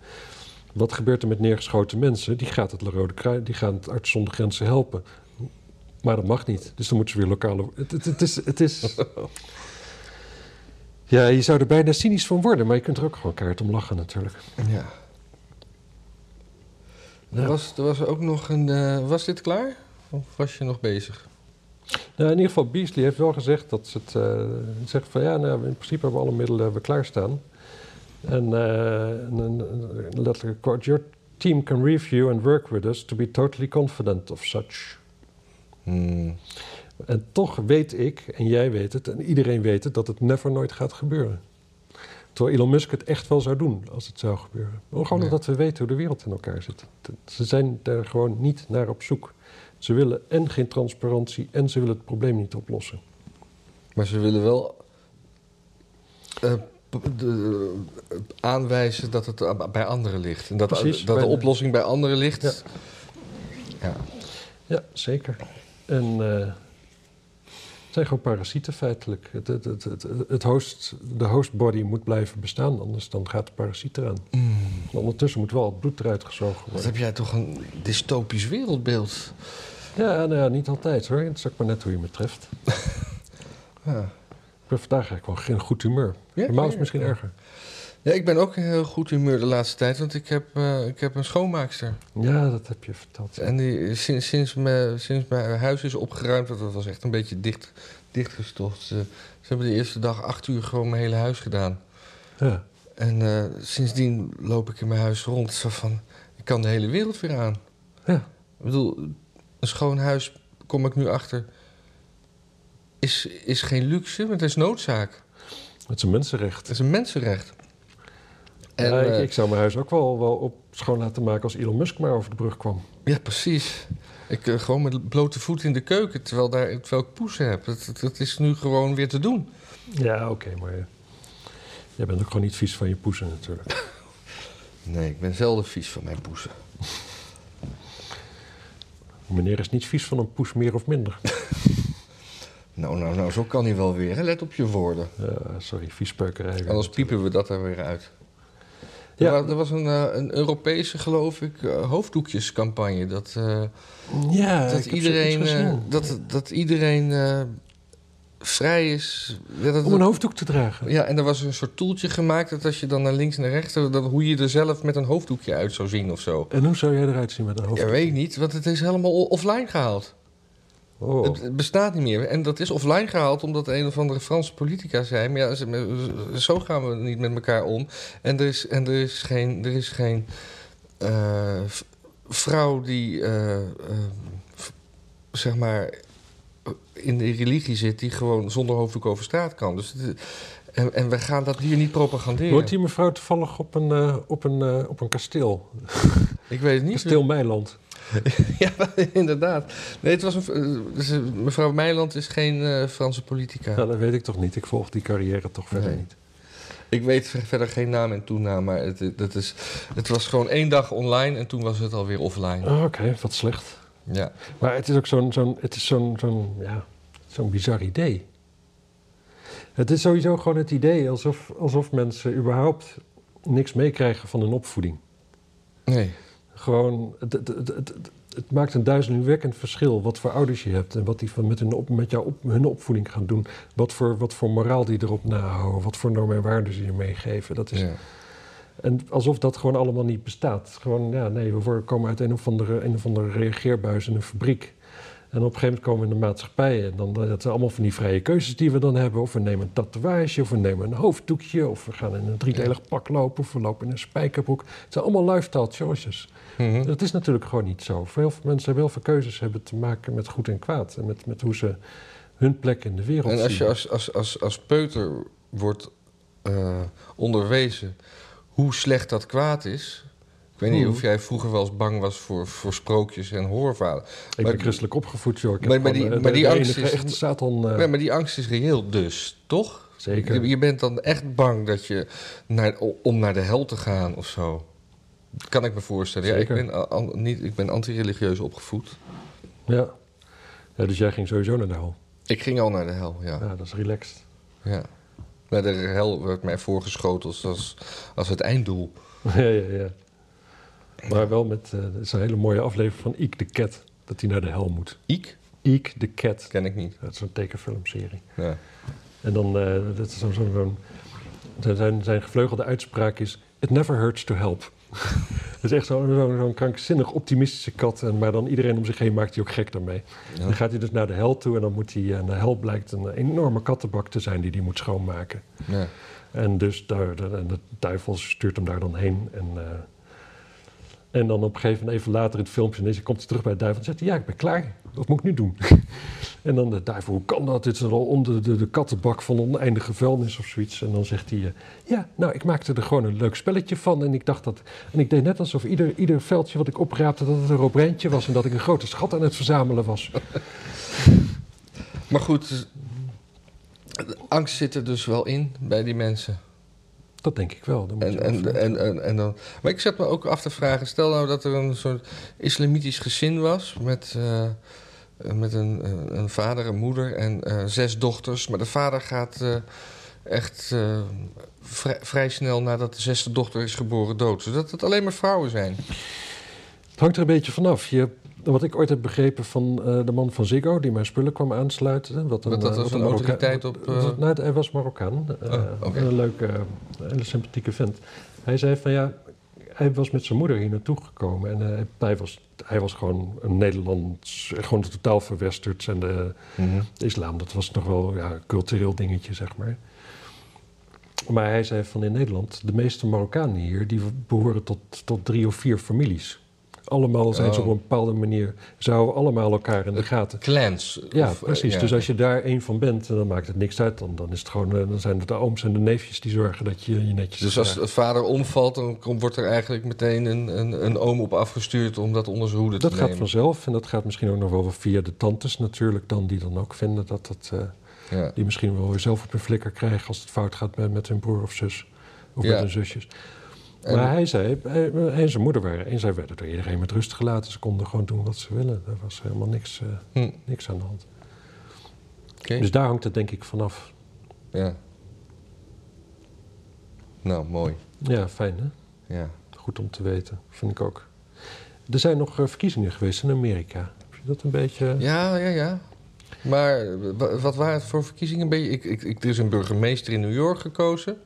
[SPEAKER 1] Wat gebeurt er met neergeschoten mensen? Die gaat het Rode Kruis, die gaan het Artsen zonder Grenzen helpen. Maar dat mag niet. Dus dan moeten ze weer lokale... Het, het, het is... Het is... Ja, je zou er bijna cynisch van worden, maar je kunt er ook gewoon keihard om lachen natuurlijk.
[SPEAKER 2] Ja. Er
[SPEAKER 1] Ja.
[SPEAKER 2] was, er was ook nog een. eh, was dit klaar? Of was je nog bezig?
[SPEAKER 1] Nou, in ieder geval, Beasley heeft wel gezegd dat ze het eh, zegt van ja, nou, in principe hebben we alle middelen hebben we klaarstaan. En eh, en een een letterlijke quote: Your team can review and work with us to be totally confident of such.
[SPEAKER 2] Hmm.
[SPEAKER 1] En toch weet ik, en jij weet het, en iedereen weet het, dat het never nooit gaat gebeuren. Terwijl Elon Musk het echt wel zou doen als het zou gebeuren. Maar gewoon
[SPEAKER 2] Ja.
[SPEAKER 1] omdat we weten hoe de wereld in elkaar zit. T- Ze zijn daar gewoon niet naar op zoek. Ze willen en geen transparantie en ze willen het probleem niet oplossen.
[SPEAKER 2] Maar ze willen wel. eh, p- de- eh, aanwijzen dat het eh, bij anderen ligt. En dat,
[SPEAKER 1] Precies,
[SPEAKER 2] dat de
[SPEAKER 1] bij de-
[SPEAKER 2] oplossing bij anderen ligt.
[SPEAKER 1] Ja.
[SPEAKER 2] Ja.
[SPEAKER 1] Ja, zeker. En eh, Het zijn gewoon parasieten feitelijk. Het, het, het, het, het host, de hostbody moet blijven bestaan, anders dan gaat de parasiet eraan. En ondertussen moet wel het bloed eruit gezogen
[SPEAKER 2] Mm. Wat
[SPEAKER 1] worden.
[SPEAKER 2] heb jij toch een dystopisch wereldbeeld?
[SPEAKER 1] Ja, nou ja, niet altijd hoor. Het is ook maar net hoe je me treft.
[SPEAKER 2] Ja.
[SPEAKER 1] Ik ben vandaag eigenlijk wel geen goed humeur.
[SPEAKER 2] Ja,
[SPEAKER 1] Normaal is
[SPEAKER 2] ja,
[SPEAKER 1] het misschien
[SPEAKER 2] ja.
[SPEAKER 1] erger.
[SPEAKER 2] Ja, ik ben ook in heel goed humeur de laatste tijd, want ik heb, eh, ik heb een schoonmaakster.
[SPEAKER 1] Ja, dat heb je verteld.
[SPEAKER 2] En die, sinds, sinds, me, sinds mijn huis is opgeruimd, want dat was echt een beetje dicht, dichtgestoft. Ze, ze hebben de eerste dag acht uur gewoon mijn hele huis gedaan.
[SPEAKER 1] Ja.
[SPEAKER 2] En eh, sindsdien loop ik in mijn huis rond. Zo van, ik kan de hele wereld weer aan.
[SPEAKER 1] Ja.
[SPEAKER 2] Ik bedoel, een schoon huis, kom ik nu achter, is, is geen luxe, maar het is noodzaak.
[SPEAKER 1] Het is een mensenrecht.
[SPEAKER 2] Het is een mensenrecht. Dus, En,
[SPEAKER 1] Ja, ik,
[SPEAKER 2] eh,
[SPEAKER 1] ik zou mijn huis ook wel, wel op schoon laten maken als Elon Musk maar over de brug kwam.
[SPEAKER 2] ja, precies. Ik eh, gewoon met blote voeten in de keuken, terwijl, daar, terwijl ik poes heb. Dat, dat, dat is nu gewoon weer te doen.
[SPEAKER 1] Ja, oké, maar eh, jij bent ook gewoon niet vies van je poezen natuurlijk.
[SPEAKER 2] Nee, ik ben zelden vies van mijn poezen.
[SPEAKER 1] Meneer is niet vies van een poes meer of minder.
[SPEAKER 2] Nou, nou, nou, zo kan hij wel weer. hè. Let op je woorden.
[SPEAKER 1] Eh, sorry, viespeukerij. weer.
[SPEAKER 2] Anders piepen we dat er weer uit.
[SPEAKER 1] Ja.
[SPEAKER 2] Ja. Er, wa- er was een, eh, een Europese, geloof ik, eh, hoofddoekjescampagne. Dat, eh,
[SPEAKER 1] Ja, ik
[SPEAKER 2] dat,
[SPEAKER 1] heb
[SPEAKER 2] iedereen,
[SPEAKER 1] zoiets gezien.
[SPEAKER 2] eh, dat, dat iedereen eh, vrij is. Ja, dat-
[SPEAKER 1] Om een hoofddoek te dragen.
[SPEAKER 2] eh, ja, en er was een soort toeltje gemaakt dat als je dan naar links en naar rechts... Dat, hoe je er zelf met een hoofddoekje uit zou zien of zo.
[SPEAKER 1] En hoe zou jij eruit zien met een
[SPEAKER 2] Ja,
[SPEAKER 1] hoofddoek?
[SPEAKER 2] weet ik niet, want het is helemaal o- offline gehaald.
[SPEAKER 1] Oh.
[SPEAKER 2] Het- Het bestaat niet meer. En dat is offline gehaald omdat een of andere Franse politica zei... Maar ja, ze- zo gaan we niet met elkaar om. En er is, en er is geen, er is geen eh, v- vrouw die, eh, eh, v- zeg maar, in de religie zit... die gewoon zonder hoofddoek over straat kan. Dus het- en, en we gaan dat hier niet propaganderen.
[SPEAKER 1] Woont die mevrouw toevallig op een, eh, op een, eh, op een kasteel?
[SPEAKER 2] Ik weet het niet.
[SPEAKER 1] Kasteel Meiland.
[SPEAKER 2] Ja, inderdaad. Nee, het was een, eh, dus, eh, mevrouw Meiland is geen eh, Franse politica.
[SPEAKER 1] Nou, dat weet ik toch niet. Ik volg die carrière toch verder
[SPEAKER 2] Nee.
[SPEAKER 1] niet.
[SPEAKER 2] Ik weet ver- verder geen naam en toenaam, maar het, dat is, het was gewoon één dag online en toen was het alweer offline.
[SPEAKER 1] Oh, Oké, wat slecht.
[SPEAKER 2] Ja.
[SPEAKER 1] Maar het is ook zo'n zo'n- het is zo'n zo'n ja, zo'n bizar idee. Het is sowieso gewoon het idee alsof, alsof mensen überhaupt niks meekrijgen van hun opvoeding.
[SPEAKER 2] Nee.
[SPEAKER 1] Gewoon, het, het, het, het, het- het maakt een duizelingwekkend verschil wat voor ouders je hebt en wat die van met, hun op, met jou op, hun opvoeding gaan doen. Wat voor, wat voor moraal die erop nahouden, wat voor normen en waarden ze je meegeven. Dat is,
[SPEAKER 2] Ja.
[SPEAKER 1] En alsof dat gewoon allemaal niet bestaat. Gewoon, ja, nee, we worden- komen uit een of andere, een of andere reageerbuis in een fabriek. En op een gegeven moment komen we in de maatschappij. En dan, eh, dat zijn allemaal van die vrije keuzes die we dan hebben. Of we nemen een tatoeage, of we nemen een hoofddoekje... of we gaan in een driedelig pak lopen, of we lopen in een spijkerbroek. Het zijn allemaal lifestyle choices.
[SPEAKER 2] Mhm.
[SPEAKER 1] Dat is natuurlijk gewoon niet zo. Voor heel veel mensen hebben heel veel keuzes hebben te maken met goed en kwaad. En met, met hoe ze hun plek in de wereld
[SPEAKER 2] En als je
[SPEAKER 1] zien.
[SPEAKER 2] als, als, als, als peuter wordt eh, onderwezen hoe slecht dat kwaad is. Ik weet niet
[SPEAKER 1] Mhm.
[SPEAKER 2] of jij vroeger wel eens bang was voor, voor sprookjes en hoorverhalen.
[SPEAKER 1] Ik
[SPEAKER 2] maar-
[SPEAKER 1] ben christelijk opgevoed, joh. Ik heb
[SPEAKER 2] Maar- maar
[SPEAKER 1] gewoon,
[SPEAKER 2] die-
[SPEAKER 1] eh,
[SPEAKER 2] maar
[SPEAKER 1] de-
[SPEAKER 2] die
[SPEAKER 1] de
[SPEAKER 2] angst
[SPEAKER 1] enige
[SPEAKER 2] is-
[SPEAKER 1] echte Satan... eh,
[SPEAKER 2] Nee, maar die angst is reëel dus, toch?
[SPEAKER 1] Zeker.
[SPEAKER 2] Je, je bent dan echt bang dat je naar, om naar de hel te gaan of zo. Kan ik me voorstellen. Ja, ik
[SPEAKER 1] Zeker.
[SPEAKER 2] ben, a- an- niet, ik ben antireligieus opgevoed.
[SPEAKER 1] Ja. ja. Dus jij ging sowieso naar de hel.
[SPEAKER 2] Ik ging al naar de hel, ja.
[SPEAKER 1] Ja, dat is relaxed.
[SPEAKER 2] ja. Naar de hel werd mij voorgeschoteld als, als het einddoel.
[SPEAKER 1] ja, ja, ja. Maar wel met... eh dat is een hele mooie aflevering van Iek de Cat. Dat hij naar de hel moet.
[SPEAKER 2] Ik?
[SPEAKER 1] Iek de Cat.
[SPEAKER 2] Ken ik niet.
[SPEAKER 1] Dat is een tekenfilmserie.
[SPEAKER 2] Ja.
[SPEAKER 1] En dan... eh, dat is zo'n... zo'n zo'n- zijn- zijn, zijn gevleugelde uitspraak is... It never hurts to help. dat is echt zo'n zo'n zo'n krankzinnig optimistische kat. En, maar dan iedereen om zich heen maakt hij ook gek daarmee.
[SPEAKER 2] Ja.
[SPEAKER 1] Dan gaat hij dus naar de hel toe. En dan moet hij... En de hel blijkt een eh, enorme kattenbak te zijn die hij moet schoonmaken.
[SPEAKER 2] Ja.
[SPEAKER 1] En dus daar, de, en de duivel stuurt hem daar dan heen. En, eh, en dan op een gegeven moment, even later in het filmpje, ineens komt hij terug bij de duivel en zegt hij, ja, ik ben klaar. Wat moet ik nu doen? en dan de duivel, hoe kan dat? Dit is al om de, de, de kattenbak van oneindige vuilnis of zoiets. En dan zegt hij, eh, ja, nou, ik maakte er gewoon een leuk spelletje van. En ik dacht dat, en ik deed net alsof ieder, ieder veldje wat ik opraapte, dat het een robreintje was. En dat ik een grote schat aan het verzamelen was.
[SPEAKER 2] Maar goed, de angst zit er dus wel in bij die mensen.
[SPEAKER 1] Dat denk ik wel. Dan moet je
[SPEAKER 2] En,
[SPEAKER 1] wel
[SPEAKER 2] en, en, en, en dan, maar ik zat me ook af te vragen, stel nou dat er een soort islamitisch gezin was met eh, eh, met een, eh, een vader, een moeder en eh, zes dochters. Maar de vader gaat eh, echt eh, vrij, vrij snel nadat de zesde dochter is geboren dood. Zodat het alleen maar vrouwen zijn.
[SPEAKER 1] Het hangt er een beetje vanaf. Je, wat ik ooit heb begrepen van eh, de man van Ziggo, die mijn spullen kwam aansluiten. Wat een,
[SPEAKER 2] Want dat
[SPEAKER 1] eh,
[SPEAKER 2] was
[SPEAKER 1] wat
[SPEAKER 2] een
[SPEAKER 1] Marokka-
[SPEAKER 2] autoriteit op,
[SPEAKER 1] wat-
[SPEAKER 2] eh,
[SPEAKER 1] wat- nou, hij was Marokkaan. Eh,
[SPEAKER 2] Oh, oké.
[SPEAKER 1] Een leuke, eh, hele sympathieke vent. Hij zei van ja, hij was met zijn moeder hier naartoe gekomen. En eh, hij, was, hij was gewoon een Nederlands, gewoon totaal verwesterd. En eh, de,
[SPEAKER 2] eh,
[SPEAKER 1] de islam, dat was nog wel ja, een cultureel dingetje, zeg maar. Maar hij zei van in Nederland, de meeste Marokkanen hier, die behoren tot, tot drie of vier families. Allemaal zijn ze
[SPEAKER 2] Oh.
[SPEAKER 1] op een bepaalde manier, zouden allemaal elkaar in de gaten.
[SPEAKER 2] Clans.
[SPEAKER 1] Ja,
[SPEAKER 2] Of, eh,
[SPEAKER 1] precies.
[SPEAKER 2] ja.
[SPEAKER 1] Dus als je daar één van bent, dan maakt het niks uit. Dan, dan, is het gewoon, eh, dan zijn het de ooms en de neefjes die zorgen dat je je netjes
[SPEAKER 2] Dus als
[SPEAKER 1] gedraagt.
[SPEAKER 2] de vader omvalt, dan komt- wordt er eigenlijk meteen een, een, een oom op afgestuurd om dat onder zijn hoede
[SPEAKER 1] Dat
[SPEAKER 2] te
[SPEAKER 1] gaat
[SPEAKER 2] nemen.
[SPEAKER 1] vanzelf en dat gaat misschien ook nog wel via de tantes natuurlijk dan, die dan ook vinden dat dat... eh,
[SPEAKER 2] Ja.
[SPEAKER 1] Die misschien wel weer zelf op hun flikker krijgen als het fout gaat met, met hun broer of zus. Of
[SPEAKER 2] Ja.
[SPEAKER 1] met hun zusjes.
[SPEAKER 2] En-
[SPEAKER 1] maar hij zei, hij, hij en zijn moeder waren, en zij werden door iedereen met rust gelaten. Ze konden gewoon doen wat ze willen. Er was helemaal niks, eh,
[SPEAKER 2] Hm,
[SPEAKER 1] niks aan de hand.
[SPEAKER 2] oké.
[SPEAKER 1] Dus daar hangt het denk ik vanaf.
[SPEAKER 2] Ja. Nou, mooi.
[SPEAKER 1] Ja, fijn hè?
[SPEAKER 2] Ja.
[SPEAKER 1] Goed om te weten, vind ik ook. Er zijn nog eh, verkiezingen geweest in Amerika. Heb je dat een beetje...
[SPEAKER 2] Ja, ja, ja. Maar eh, wa- wat waren het voor verkiezingen? Ben je- Ik, ik, ik, er is een burgemeester in New York gekozen.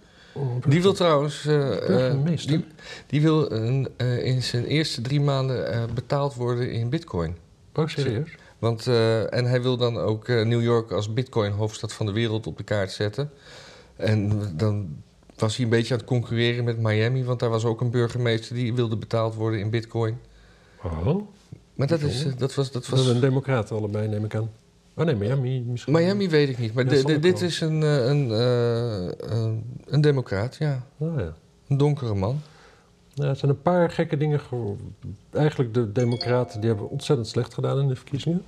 [SPEAKER 2] Die wil trouwens. eh, eh,
[SPEAKER 1] Burgemeester?
[SPEAKER 2] die, die wil een, eh, in zijn eerste drie maanden eh, betaald worden in Bitcoin.
[SPEAKER 1] Oh, serieus?
[SPEAKER 2] Want, eh, en hij wil dan ook eh, New York als Bitcoin-hoofdstad van de wereld op de kaart zetten. En dan was hij een beetje aan het concurreren met Miami, want daar was ook een burgemeester die wilde betaald worden in Bitcoin.
[SPEAKER 1] Oh,
[SPEAKER 2] Maar dat, is, eh, dat was. Dat
[SPEAKER 1] dat
[SPEAKER 2] was
[SPEAKER 1] zijn een democraten allebei, neem ik aan. Oh nee, Miami misschien.
[SPEAKER 2] Miami weet ik niet, maar
[SPEAKER 1] Ja,
[SPEAKER 2] di- di-
[SPEAKER 1] Sonic
[SPEAKER 2] dit
[SPEAKER 1] wel.
[SPEAKER 2] is een, eh, een, eh, een, een democraat, ja.
[SPEAKER 1] Oh, ja.
[SPEAKER 2] Een donkere man.
[SPEAKER 1] Nou, er zijn een paar gekke dingen. ge- Eigenlijk de Democraten die hebben ontzettend slecht gedaan in de verkiezingen.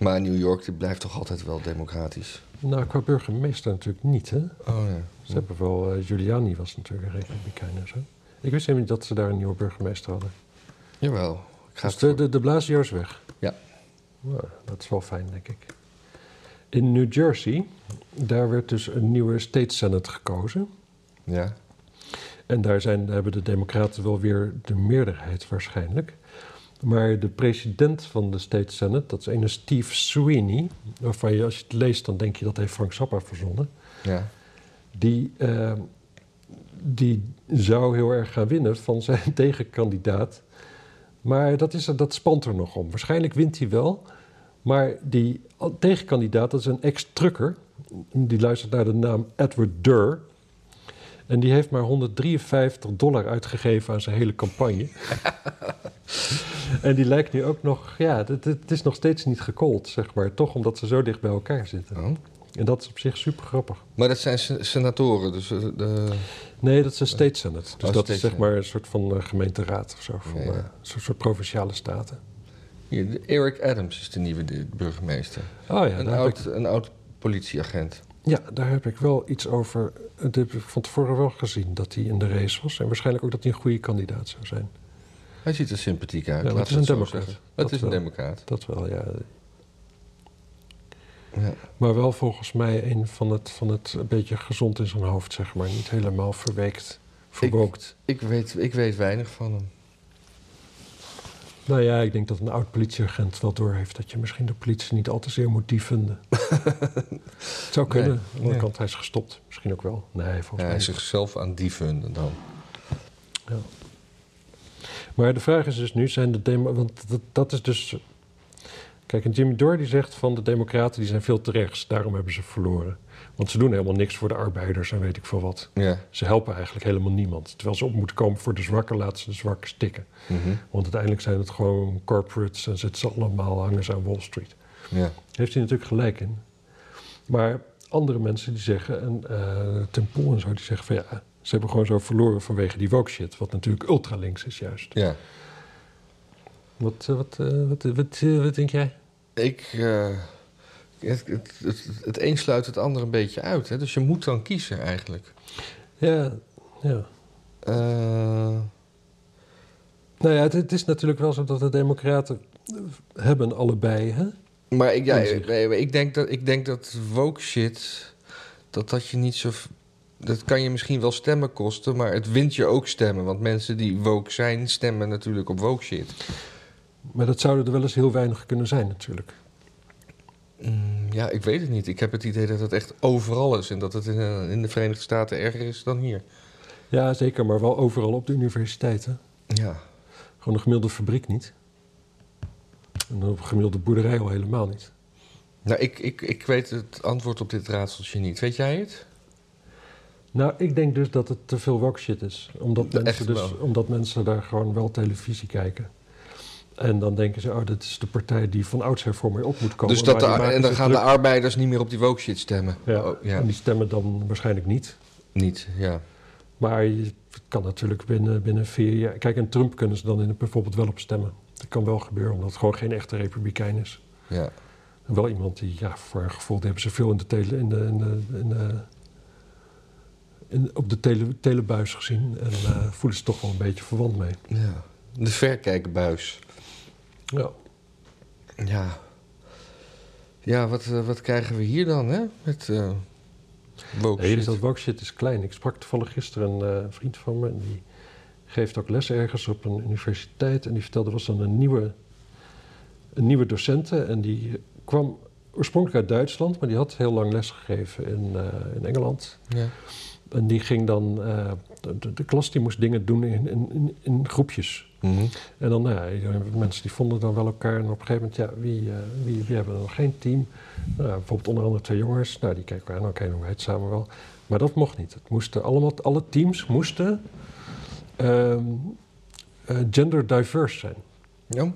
[SPEAKER 2] Maar New York die blijft toch altijd wel democratisch?
[SPEAKER 1] Nou, qua burgemeester natuurlijk niet. Hè?
[SPEAKER 2] Oh ja.
[SPEAKER 1] Ze hebben wel, eh, Giuliani was natuurlijk een republikein en zo. Ik wist helemaal niet dat ze daar een nieuwe burgemeester hadden.
[SPEAKER 2] Jawel. Ik ga
[SPEAKER 1] Dus
[SPEAKER 2] het
[SPEAKER 1] de,
[SPEAKER 2] voor-
[SPEAKER 1] de, de Blasio is weg.
[SPEAKER 2] Ja.
[SPEAKER 1] Nou, dat is wel fijn, denk ik. In New Jersey, daar werd dus een nieuwe state senate gekozen.
[SPEAKER 2] Ja.
[SPEAKER 1] En daar zijn, hebben de Democraten wel weer de meerderheid waarschijnlijk. Maar de president van de State Senate, dat is ene Steve Sweeney, waarvan je als je het leest dan denk je dat heeft Frank Zappa verzonnen.
[SPEAKER 2] ja.
[SPEAKER 1] Die, eh, die zou heel erg gaan winnen van zijn tegenkandidaat. Maar dat, is, er- dat spant er nog om. Waarschijnlijk wint hij wel. Maar die tegenkandidaat, dat is een ex-trucker. Die luistert naar de naam Edward Durr. En die heeft maar 153 dollar uitgegeven aan zijn hele campagne. en die lijkt nu ook nog... Ja, het, het is nog steeds niet gekold, zeg maar. Toch omdat ze zo dicht bij elkaar zitten.
[SPEAKER 2] Oh.
[SPEAKER 1] En dat is op zich super grappig.
[SPEAKER 2] Maar dat zijn se- senatoren, dus eh, de...
[SPEAKER 1] Nee, dat is een state senate. Dus dat
[SPEAKER 2] Oh, state
[SPEAKER 1] is zeg
[SPEAKER 2] senate.
[SPEAKER 1] maar een soort van eh, gemeenteraad of zo. Van,
[SPEAKER 2] Ja, ja.
[SPEAKER 1] eh, zo'n soort provinciale staten.
[SPEAKER 2] Hier, de- Eric Adams is de nieuwe de- burgemeester.
[SPEAKER 1] Oh ja,
[SPEAKER 2] een,
[SPEAKER 1] daar heb,
[SPEAKER 2] oud,
[SPEAKER 1] ik,
[SPEAKER 2] een oud politieagent.
[SPEAKER 1] ja daar heb ik wel iets over. Dat heb ik van tevoren wel gezien dat hij in de race was. En waarschijnlijk ook dat hij een goede kandidaat zou zijn.
[SPEAKER 2] Hij ziet er sympathiek uit.
[SPEAKER 1] Ja, maar het
[SPEAKER 2] laat
[SPEAKER 1] is
[SPEAKER 2] ik
[SPEAKER 1] een
[SPEAKER 2] zo
[SPEAKER 1] democraat.
[SPEAKER 2] zeggen.
[SPEAKER 1] Dat
[SPEAKER 2] Het is een
[SPEAKER 1] wel.
[SPEAKER 2] democraat.
[SPEAKER 1] Dat wel, ja.
[SPEAKER 2] Ja.
[SPEAKER 1] Maar wel volgens mij een van het, van het een beetje gezond in zijn hoofd, zeg maar. Niet helemaal verweekt, verwookt.
[SPEAKER 2] Ik, weet, ik weet weinig van hem.
[SPEAKER 1] Nou ja, ik denk dat een oud politieagent wel doorheeft dat je misschien de politie niet al te zeer moet dieven. het zou kunnen. Aan de andere
[SPEAKER 2] Nee.
[SPEAKER 1] kant, hij is gestopt. Misschien ook wel. Nee, volgens
[SPEAKER 2] Ja,
[SPEAKER 1] mij
[SPEAKER 2] hij is
[SPEAKER 1] niet.
[SPEAKER 2] Eh, zichzelf aan dieven dan.
[SPEAKER 1] Ja. Maar de vraag is dus nu, zijn de demo... Want dat, dat is dus... Kijk, en Jimmy Dore die zegt van de democraten die zijn veel te rechts. Daarom hebben ze verloren. Want ze doen helemaal niks voor de arbeiders en weet ik veel wat.
[SPEAKER 2] Ja.
[SPEAKER 1] Ze helpen eigenlijk helemaal niemand. Terwijl ze op moeten komen voor de zwakken, laten ze de zwakken stikken.
[SPEAKER 2] Mhm.
[SPEAKER 1] Want uiteindelijk zijn het gewoon corporates en zitten ze allemaal hangers aan Wall Street.
[SPEAKER 2] ja.
[SPEAKER 1] Heeft hij natuurlijk gelijk in. Maar andere mensen die zeggen, en eh, Tim Poel en zo, die zeggen van ja, ze hebben gewoon zo verloren vanwege die woke shit. Wat natuurlijk ultralinks is juist.
[SPEAKER 2] Ja.
[SPEAKER 1] Wat, eh, wat, eh, wat, eh, wat, eh, wat denk jij?
[SPEAKER 2] Ik, eh, het, het, het, het een sluit het ander een beetje uit. Hè? Dus je moet dan kiezen eigenlijk.
[SPEAKER 1] Ja, ja.
[SPEAKER 2] Eh,
[SPEAKER 1] Nou ja, het, het is natuurlijk wel zo dat de democraten hebben allebei. Hè?
[SPEAKER 2] Maar ik, ja,
[SPEAKER 1] Inzicht.
[SPEAKER 2] nee, maar ik, denk dat, ik denk dat woke shit, dat dat je niet zo... v- Dat kan je misschien wel stemmen kosten, maar het wint je ook stemmen. Want mensen die woke zijn, stemmen natuurlijk op woke shit.
[SPEAKER 1] Maar dat zouden er wel eens heel weinig kunnen zijn natuurlijk.
[SPEAKER 2] Mm, ja, ik weet het niet. Ik heb het idee dat het echt overal is. En dat het in, eh, in de Verenigde Staten erger is dan hier.
[SPEAKER 1] Ja, zeker, maar wel overal op de universiteiten.
[SPEAKER 2] Ja.
[SPEAKER 1] Gewoon een gemiddelde fabriek niet. En op een gemiddelde boerderij al helemaal niet.
[SPEAKER 2] Nou, ik, ik, ik weet het antwoord op dit raadseltje niet. Weet jij het?
[SPEAKER 1] Nou, ik denk dus dat het te veel woke shit is. Omdat,
[SPEAKER 2] Ja,
[SPEAKER 1] mensen,
[SPEAKER 2] echt
[SPEAKER 1] dus,
[SPEAKER 2] wel.
[SPEAKER 1] omdat mensen daar gewoon wel televisie kijken. En dan denken ze, oh, dit is de partij die van oudsher voor mij op moet komen.
[SPEAKER 2] dus dat
[SPEAKER 1] Maar die
[SPEAKER 2] de, ar-
[SPEAKER 1] maken
[SPEAKER 2] en dan
[SPEAKER 1] zich
[SPEAKER 2] gaan de
[SPEAKER 1] druk.
[SPEAKER 2] arbeiders niet meer op die woke shit stemmen.
[SPEAKER 1] Ja,
[SPEAKER 2] Oh, ja.
[SPEAKER 1] en die stemmen dan waarschijnlijk niet.
[SPEAKER 2] Niet, ja.
[SPEAKER 1] Maar je het kan natuurlijk binnen, binnen vier jaar... Kijk, en Trump kunnen ze dan in, bijvoorbeeld wel op stemmen. Dat kan wel gebeuren, omdat het gewoon geen echte republikein is.
[SPEAKER 2] ja.
[SPEAKER 1] En wel iemand die, ja, voor een gevoel, die hebben ze veel in de tele, in de, in de, in de- in- op de tele, telebuis gezien. En eh, voelen ze toch wel een beetje verwant mee.
[SPEAKER 2] ja. De verkijkbuis.
[SPEAKER 1] Ja.
[SPEAKER 2] Ja. Ja, wat, eh, wat krijgen we hier dan, hè? Met eh woke
[SPEAKER 1] Nee, dus
[SPEAKER 2] shit.
[SPEAKER 1] dat woke shit is klein. Ik sprak toevallig gisteren een eh, vriend van me. En die geeft ook les ergens op een universiteit. En die vertelde, er was dan een nieuwe, een nieuwe docent. En die kwam oorspronkelijk uit Duitsland. Maar die had heel lang les gegeven in, eh, in Engeland.
[SPEAKER 2] Ja.
[SPEAKER 1] En die ging dan, eh, de, de- de klas die moest dingen doen in, in, in, in groepjes.
[SPEAKER 2] Mhm.
[SPEAKER 1] En dan, nou ja, mensen die vonden dan wel elkaar. En op een gegeven moment, ja, wie, eh, wie, wie hebben dan geen team? Nou, bijvoorbeeld onder andere twee jongens. Nou, die keken elkaar aan, oké, dan doen wij het samen wel. Maar dat mocht niet. Het moesten allemaal, alle teams moesten ehm, eh, gender diverse zijn.
[SPEAKER 2] Ja.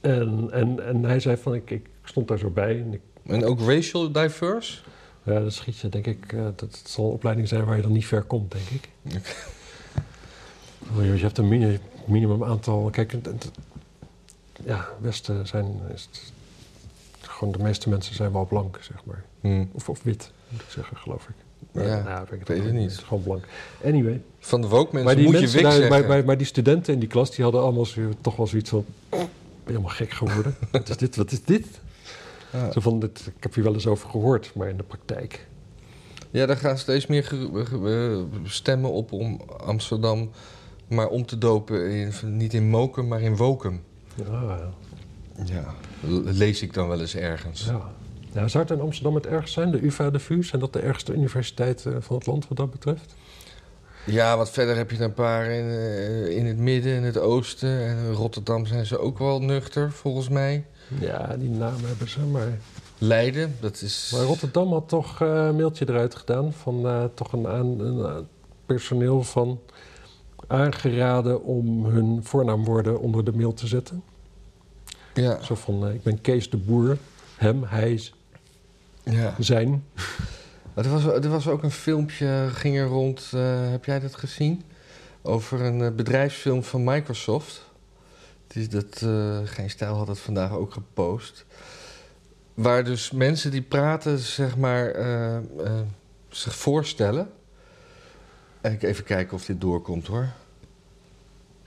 [SPEAKER 1] En, en, en hij zei van, ik, ik stond daar zo bij. En ik,
[SPEAKER 2] En ook racial diverse?
[SPEAKER 1] ja, dan schiet je, denk ik, eh, dat het zal een opleiding zijn waar je dan niet ver komt, denk ik. Oh, Je hebt een mini- minimum aantal. Kijk, het- het- ja, Westen zijn. Is het- gewoon de meeste mensen zijn wel blank, zeg maar.
[SPEAKER 2] Hm.
[SPEAKER 1] Of, of wit, moet ik zeggen, geloof ik.
[SPEAKER 2] Ja,
[SPEAKER 1] nou, ik
[SPEAKER 2] weet
[SPEAKER 1] ook
[SPEAKER 2] het niet.
[SPEAKER 1] Het is gewoon blank. Anyway.
[SPEAKER 2] Van de woke
[SPEAKER 1] maar,
[SPEAKER 2] mensen
[SPEAKER 1] die
[SPEAKER 2] moet je
[SPEAKER 1] mensen
[SPEAKER 2] wik
[SPEAKER 1] daar-
[SPEAKER 2] zeggen.
[SPEAKER 1] maar, maar, maar die studenten in die klas, die hadden allemaal zo, toch wel zoiets van... "Ik ben helemaal gek geworden. wat is dit? Wat is dit?
[SPEAKER 2] Ja.
[SPEAKER 1] Zo van, dit, ik heb hier wel eens over gehoord, maar in de praktijk...
[SPEAKER 2] Ja, daar gaan steeds meer ge- ge- eh, stemmen op om Amsterdam maar om te dopen. In, niet in Mokum, maar in Wokum.
[SPEAKER 1] Ja,
[SPEAKER 2] Ja. Lees ik dan wel eens ergens.
[SPEAKER 1] ja. Nou, zou het in Amsterdam het ergst zijn? De UvA, de VU, zijn dat de ergste universiteiten van het land wat dat betreft?
[SPEAKER 2] Ja, wat verder heb je er een paar in, eh, in het midden, in het oosten. En in Rotterdam zijn ze ook wel nuchter, volgens mij.
[SPEAKER 1] Ja, die naam hebben ze. Maar,
[SPEAKER 2] Leiden, dat is...
[SPEAKER 1] maar Rotterdam had toch eh, een mailtje eruit gedaan van eh, toch een, aan, een, eh, personeel van aangeraden om hun voornaamwoorden onder de mail te zetten.
[SPEAKER 2] Ja,
[SPEAKER 1] Zo van, eh, ik ben Kees de Boer, hem, hij,
[SPEAKER 2] ja.
[SPEAKER 1] zijn.
[SPEAKER 2] Er was, er was ook een filmpje, ging er rond, eh, heb jij dat gezien? Over een eh, bedrijfsfilm van Microsoft. Het is dat, eh, Geen Stijl had het vandaag ook gepost. Waar dus mensen die praten, zeg maar, eh, eh, zich voorstellen. En ik even kijken of dit doorkomt hoor.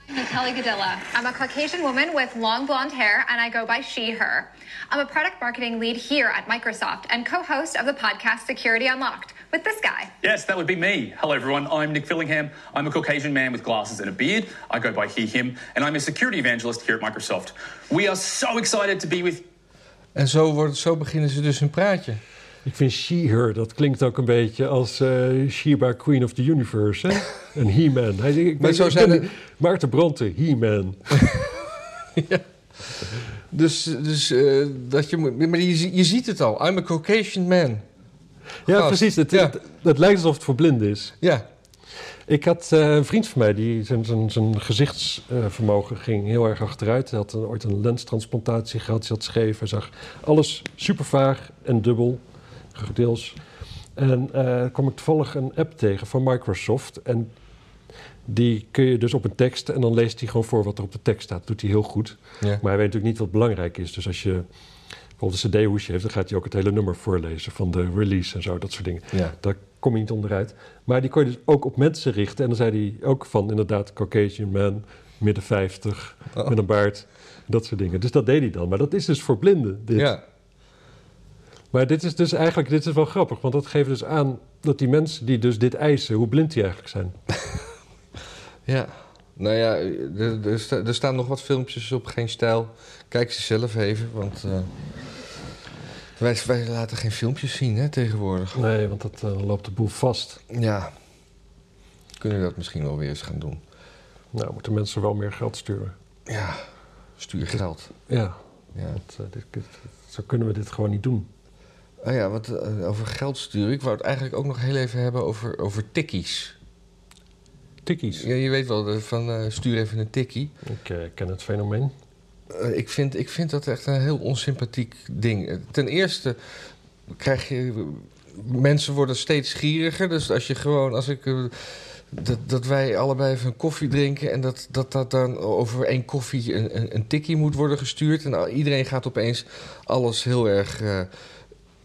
[SPEAKER 3] My name is Kelly Gadilla. I'm a Caucasian woman with long blonde hair, and I go by she, her. I'm a product marketing lead here at Microsoft and co host of the podcast Security Unlocked with this guy.
[SPEAKER 4] Yes, that would be me. Hello, everyone. I'm Nick Fillingham. I'm a Caucasian man with glasses and a beard. I go by he, him, and I'm a security evangelist here at Microsoft. We are so excited to be with
[SPEAKER 2] En zo, wordt, zo beginnen ze dus hun praatje.
[SPEAKER 1] Ik vind she-her, dat klinkt ook een beetje als eh Sheba, Queen of the Universe. Hè? Een he-man. Hij zegt, ik
[SPEAKER 2] Maar
[SPEAKER 1] ben,
[SPEAKER 2] zo
[SPEAKER 1] ik
[SPEAKER 2] zijn
[SPEAKER 1] ben
[SPEAKER 2] er-
[SPEAKER 1] Maarten Bronte, he-man.
[SPEAKER 2] Dus, dus eh, dat je moet. Maar je, je ziet het al. I'm a Caucasian man.
[SPEAKER 1] Ja,
[SPEAKER 2] Gast,
[SPEAKER 1] precies. Het,
[SPEAKER 2] ja.
[SPEAKER 1] het- het lijkt alsof het voor blinden is.
[SPEAKER 2] Ja,
[SPEAKER 1] Ik had eh, een vriend van mij die zijn, zijn, zijn gezichtsvermogen ging heel erg achteruit. Hij had een- ooit een lenstransplantatie gehad, hij had scheef. Hij zag alles super vaag en dubbel, deels. En eh kwam ik toevallig een app tegen van Microsoft. En die kun je dus op een tekst en dan leest hij gewoon voor wat er op de tekst staat. Dat doet hij heel goed.
[SPEAKER 2] ja.
[SPEAKER 1] Maar hij weet natuurlijk niet wat belangrijk is. Dus als je bijvoorbeeld een cd-hoesje heeft, dan gaat hij ook het hele nummer voorlezen van de release en zo, dat soort dingen.
[SPEAKER 2] ja.
[SPEAKER 1] Daar kom je niet onderuit. Maar die kon je dus ook op mensen richten. En dan zei hij ook van inderdaad Caucasian man, midden 50,
[SPEAKER 2] Oh.
[SPEAKER 1] met een baard, dat soort dingen. Dus dat deed hij dan. Maar dat is dus voor blinden, dit.
[SPEAKER 2] Ja.
[SPEAKER 1] Maar dit is dus eigenlijk, dit is wel grappig, want dat geeft dus aan dat die mensen die dus dit eisen, hoe blind die eigenlijk zijn.
[SPEAKER 2] ja. Nou ja, er, er sta- er staan nog wat filmpjes op, geen stijl. Kijk ze zelf even, want eh, wij, wij laten geen filmpjes zien hè, tegenwoordig.
[SPEAKER 1] Nee, want dat eh, loopt de boel vast.
[SPEAKER 2] Ja, kunnen we dat misschien wel weer eens gaan doen.
[SPEAKER 1] Nou, moeten mensen wel meer geld sturen.
[SPEAKER 2] Ja, stuur geld.
[SPEAKER 1] Ja,
[SPEAKER 2] Ja.
[SPEAKER 1] want eh, dit, dit- zo kunnen we dit gewoon niet doen.
[SPEAKER 2] Oh ja, wat, eh, over geld sturen. Ik wou het eigenlijk ook nog heel even hebben over, over tikkies.
[SPEAKER 1] Tikkies.
[SPEAKER 2] Ja, je weet wel, eh, van eh, stuur even een tikkie.
[SPEAKER 1] Ik eh, ken het fenomeen.
[SPEAKER 2] Eh, ik, vind, ik vind dat echt een heel onsympathiek ding. Eh, Ten eerste krijg je. Mensen worden steeds gieriger. Dus als je gewoon. Als ik, eh, dat, dat wij allebei even een koffie drinken. en dat dat, dat dan over één koffie een, een, een tikkie moet worden gestuurd. en al- iedereen gaat opeens alles heel erg. eh,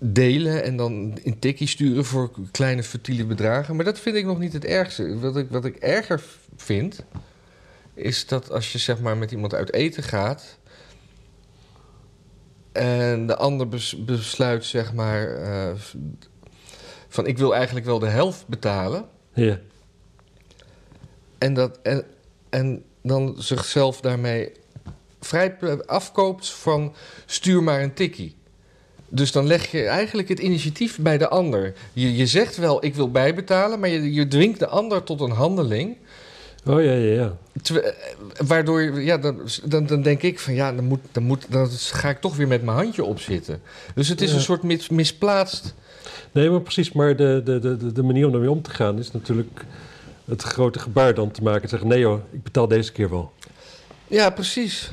[SPEAKER 2] Delen en dan in tikkie sturen voor kleine futiele bedragen. Maar dat vind ik nog niet het ergste. Wat ik, wat ik erger vind, is dat als je zeg maar met iemand uit eten gaat. En de ander bes- besluit, zeg maar, eh, van ik wil eigenlijk wel de helft betalen.
[SPEAKER 1] Ja.
[SPEAKER 2] En, dat, en, en dan zichzelf daarmee vrij p- afkoopt van stuur maar een tikkie. Dus dan leg je eigenlijk het initiatief bij de ander. Je, je zegt wel ik wil bijbetalen, maar je, je dwingt de ander tot een handeling.
[SPEAKER 1] Oh ja, ja, ja.
[SPEAKER 2] Terwijl- eh, waardoor, je- ja, dan, dan, dan denk ik van ja, dan, moet, dan, moet, dan ga ik toch weer met mijn handje op zitten. Dus het is
[SPEAKER 1] Ja.
[SPEAKER 2] een soort mis- misplaatst
[SPEAKER 1] Nee, maar precies. Maar de, de, de, de- de manier om daarmee om te gaan is natuurlijk het grote gebaar dan te maken. en Zeggen, nee hoor, ik betaal deze keer wel.
[SPEAKER 2] Ja, precies.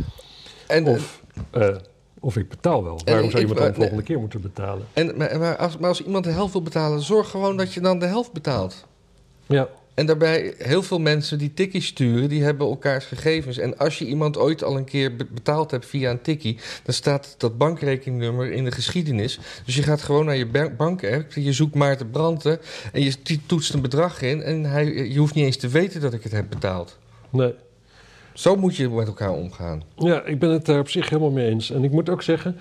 [SPEAKER 2] En,
[SPEAKER 1] Of, eh, of ik eh, betaal wel. Waarom
[SPEAKER 2] ik-
[SPEAKER 1] zou iemand dan de
[SPEAKER 2] nee.
[SPEAKER 1] volgende keer moeten betalen?
[SPEAKER 2] en, maar, maar als, maar als iemand de helft wil betalen, zorg gewoon dat je dan de helft betaalt.
[SPEAKER 1] Ja,
[SPEAKER 2] En daarbij, heel veel mensen die tikkies sturen, die hebben elkaars gegevens. En als je iemand ooit al een keer be- betaald hebt via een tikkie, dan staat dat bankrekeningnummer in de geschiedenis. Dus je gaat gewoon naar je ba- bank-app, je zoekt Maarten Branten en je t- toetst een bedrag in. En hij, je hoeft niet eens te weten dat ik het heb betaald.
[SPEAKER 1] nee.
[SPEAKER 2] Zo moet je met elkaar omgaan.
[SPEAKER 1] Ja, ik ben het daar op zich helemaal mee eens. En ik moet ook zeggen,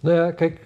[SPEAKER 1] nou ja, kijk,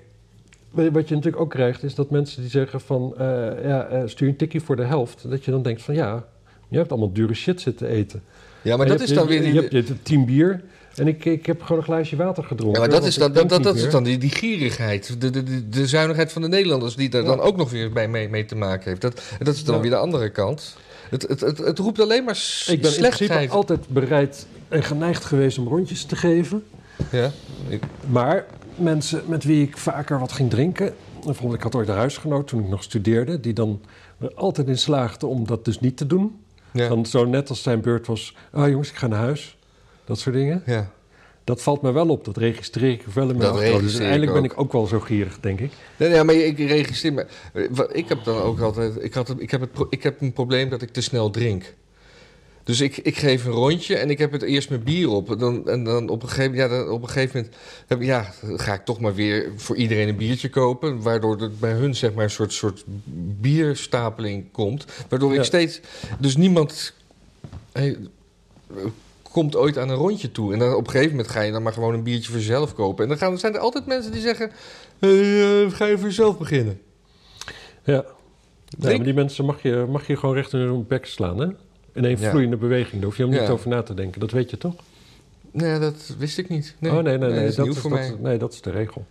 [SPEAKER 1] weet je, wat je natuurlijk ook krijgt is dat mensen die zeggen van, eh, ja, eh, stuur een tikkie voor de helft. Dat je dan denkt van, ja, je hebt allemaal dure shit zitten eten.
[SPEAKER 2] Ja, maar
[SPEAKER 1] En
[SPEAKER 2] dat
[SPEAKER 1] je
[SPEAKER 2] is
[SPEAKER 1] hebt- dus-
[SPEAKER 2] dan
[SPEAKER 1] Je,
[SPEAKER 2] weer... die-
[SPEAKER 1] je hebt, je hebt tien bier en ik, ik heb gewoon een glaasje water gedronken.
[SPEAKER 2] Ja, maar dat
[SPEAKER 1] want
[SPEAKER 2] is
[SPEAKER 1] ik
[SPEAKER 2] dan, dat,
[SPEAKER 1] drink
[SPEAKER 2] dat,
[SPEAKER 1] niet
[SPEAKER 2] dat is
[SPEAKER 1] meer.
[SPEAKER 2] dan die, die gierigheid. De, de, de, de zuinigheid van de Nederlanders die daar
[SPEAKER 1] Ja.
[SPEAKER 2] dan ook nog weer bij, mee, mee te maken heeft. Dat, dat is dan
[SPEAKER 1] Ja.
[SPEAKER 2] weer de andere kant. Het, het, het, het roept alleen maar s-
[SPEAKER 1] Ik ben in principe
[SPEAKER 2] slechtheid.
[SPEAKER 1] altijd bereid en geneigd geweest om rondjes te geven.
[SPEAKER 2] Ja. Ik-
[SPEAKER 1] Maar mensen met wie ik vaker wat ging drinken. Bijvoorbeeld, ik had ooit een huisgenoot toen ik nog studeerde. die dan er altijd in slaagde om dat dus niet te doen.
[SPEAKER 2] ja.
[SPEAKER 1] Dan zo net als zijn beurt was. Ah jongens, ik ga naar huis. Dat soort dingen.
[SPEAKER 2] ja.
[SPEAKER 1] Dat valt me wel op. Dat registreer ik wel in mijn
[SPEAKER 2] Dat
[SPEAKER 1] achterhoofd. Dus
[SPEAKER 2] registreer ik
[SPEAKER 1] uiteindelijk ben
[SPEAKER 2] ook.
[SPEAKER 1] ik ook wel zo gierig, denk ik.
[SPEAKER 2] Nee, nee, maar ik registreer me. eh, wat- Ik heb dan ook altijd. Ik, had, het- ik, heb het, pro- ik heb een probleem dat ik te snel drink. Dus ik, ik geef een rondje en ik heb het eerst mijn bier op. Dan, en dan op een gegeven, ja, dan op een gegeven moment heb, ja, dan ga ik toch maar weer voor iedereen een biertje kopen. Waardoor er bij hun zeg maar, een soort, soort bierstapeling komt. Waardoor
[SPEAKER 1] Ja.
[SPEAKER 2] ik steeds. Dus niemand hey, komt ooit aan een rondje toe. En dan op een gegeven moment ga je dan maar gewoon een biertje voor jezelf kopen. En dan gaan, zijn er altijd mensen die zeggen: hey, eh, ga je voor jezelf beginnen.
[SPEAKER 1] Ja. Ja,
[SPEAKER 2] Drink-
[SPEAKER 1] maar die mensen mag je, mag je gewoon recht in hun bek slaan, hè? In één
[SPEAKER 2] Ja.
[SPEAKER 1] vloeiende beweging. Daar hoef je helemaal
[SPEAKER 2] Ja.
[SPEAKER 1] niet over na te denken. Dat weet je toch?
[SPEAKER 2] Nee, dat wist ik niet. Nee,
[SPEAKER 1] oh nee, nee, nee.
[SPEAKER 2] dat is nieuw
[SPEAKER 1] is-
[SPEAKER 2] voor mij.
[SPEAKER 1] is- nee, dat is de regel.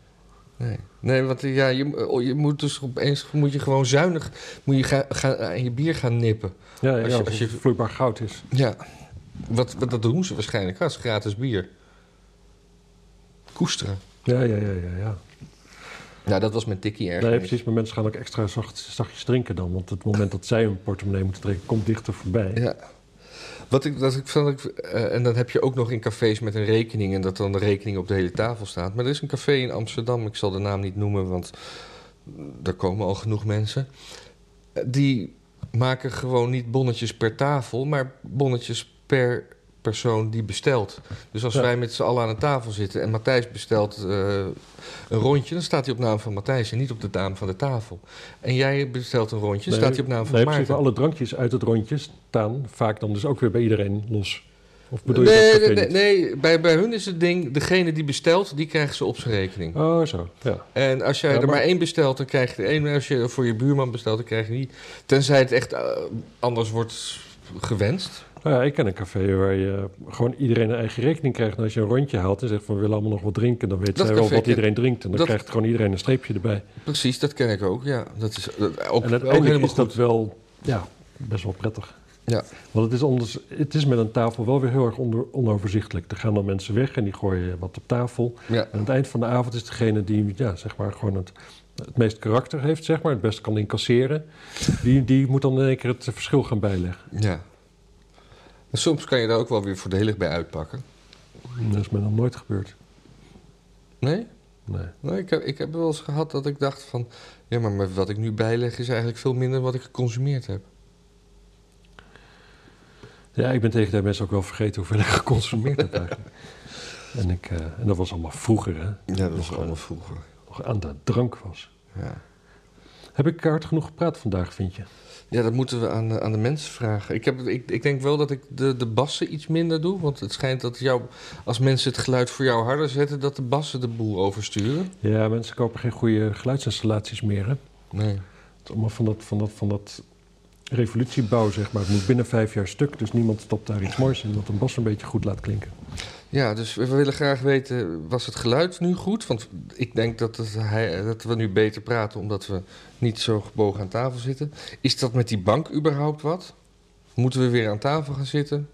[SPEAKER 2] Nee. nee, want eh, ja, je, oh, je moet dus opeens moet je gewoon zuinig moet je gaan, gaan, aan je bier gaan nippen.
[SPEAKER 1] Ja, ja,
[SPEAKER 2] Als
[SPEAKER 1] als,
[SPEAKER 2] je-
[SPEAKER 1] je,
[SPEAKER 2] als je-
[SPEAKER 1] vloeibaar goud is.
[SPEAKER 2] Ja, wat, wat, dat doen ze waarschijnlijk als gratis bier. Koesteren.
[SPEAKER 1] Ja, ja, ja, ja. ja.
[SPEAKER 2] Nou, dat was mijn tikkie erg.
[SPEAKER 1] Nee, precies. Maar mensen gaan ook extra zacht, zachtjes drinken dan. Want het moment dat zij hun portemonnee moeten trekken, komt dichter voorbij.
[SPEAKER 2] Ja. Wat ik, dat ik, dat ik, eh, en dat heb je ook nog in cafés met een rekening en dat dan de rekening op de hele tafel staat. Maar er is een café in Amsterdam, ik zal de naam niet noemen, want er komen al genoeg mensen. Eh, Die maken gewoon niet bonnetjes per tafel, maar bonnetjes per persoon die bestelt. Dus als
[SPEAKER 1] Ja.
[SPEAKER 2] wij met z'n allen aan een tafel zitten en Matthijs bestelt eh, een rondje, dan staat hij op naam van Matthijs en niet op de naam van de tafel. En jij bestelt een rondje,
[SPEAKER 1] Nee,
[SPEAKER 2] staat hij op naam van
[SPEAKER 1] nee, precies.
[SPEAKER 2] Maarten.
[SPEAKER 1] Maar alle drankjes uit het rondje staan vaak dan dus ook weer bij iedereen los. Of bedoel je
[SPEAKER 2] Nee,
[SPEAKER 1] dat
[SPEAKER 2] nee,
[SPEAKER 1] begin?
[SPEAKER 2] nee, nee. Bij, bij hun is het ding, degene die bestelt, die krijgt ze op zijn rekening.
[SPEAKER 1] Oh, zo. Ja.
[SPEAKER 2] En als jij
[SPEAKER 1] Ja,
[SPEAKER 2] er
[SPEAKER 1] maar-
[SPEAKER 2] maar één bestelt, dan krijg je er één. En als je voor je buurman bestelt, dan krijg je niet. Tenzij het echt eh, anders wordt gewenst.
[SPEAKER 1] Nou ja, ik ken een café waar je gewoon iedereen een eigen rekening krijgt. En als je een rondje haalt en zegt van we willen allemaal nog wat drinken, dan weet
[SPEAKER 2] Dat
[SPEAKER 1] zij wel
[SPEAKER 2] café
[SPEAKER 1] wat
[SPEAKER 2] ken-
[SPEAKER 1] iedereen drinkt. En dan
[SPEAKER 2] dat-
[SPEAKER 1] krijgt gewoon iedereen een streepje erbij.
[SPEAKER 2] Precies, dat ken ik ook. Ja, dat is dat, ook,
[SPEAKER 1] en
[SPEAKER 2] ook
[SPEAKER 1] uiteindelijk
[SPEAKER 2] helemaal
[SPEAKER 1] is
[SPEAKER 2] goed.
[SPEAKER 1] dat wel ja, best wel prettig.
[SPEAKER 2] Ja.
[SPEAKER 1] Want het is, anders, het is met een tafel wel weer heel erg onder- onoverzichtelijk. Er gaan dan mensen weg en die gooien wat op tafel.
[SPEAKER 2] Ja.
[SPEAKER 1] En aan het eind van de avond is degene die ja, zeg maar gewoon het, het meest karakter heeft, zeg maar, het best kan incasseren, die, die moet dan in één keer het verschil gaan bijleggen.
[SPEAKER 2] ja. En soms kan je daar ook wel weer voordelig bij uitpakken.
[SPEAKER 1] Dat is me nog nooit gebeurd.
[SPEAKER 2] Nee?
[SPEAKER 1] Nee.
[SPEAKER 2] nee ik, heb, ik heb wel eens gehad dat ik dacht van... Ja, maar met wat ik nu bijleg is eigenlijk veel minder wat ik geconsumeerd heb.
[SPEAKER 1] Ja, ik ben tegen de mensen ook wel vergeten hoeveel ik geconsumeerd heb eigenlijk. En, ik, eh, en dat was allemaal vroeger, hè,
[SPEAKER 2] Ja, dat was allemaal vroeger.
[SPEAKER 1] nog aan de drank was.
[SPEAKER 2] Ja.
[SPEAKER 1] Heb ik hard genoeg gepraat vandaag, vind je?
[SPEAKER 2] Ja, dat moeten we aan, de- aan de mensen vragen. Ik, heb, ik, ik denk wel dat ik de, de bassen iets minder doe. Want het schijnt dat jou, als mensen het geluid voor jou harder zetten, dat de bassen de boel oversturen.
[SPEAKER 1] Ja, mensen kopen geen goede geluidsinstallaties meer, hè.
[SPEAKER 2] Nee.
[SPEAKER 1] Het is allemaal van dat, van dat, van dat revolutiebouw, zeg maar. Het moet binnen vijf jaar stuk, dus niemand stopt daar iets moois in... dat een bas een beetje goed laat klinken.
[SPEAKER 2] Ja, dus we willen graag weten, was het geluid nu goed? Want ik denk dat, het, hij, dat we nu beter praten omdat we niet zo gebogen aan tafel zitten. Is dat met die bank überhaupt wat? Moeten we weer aan tafel gaan zitten?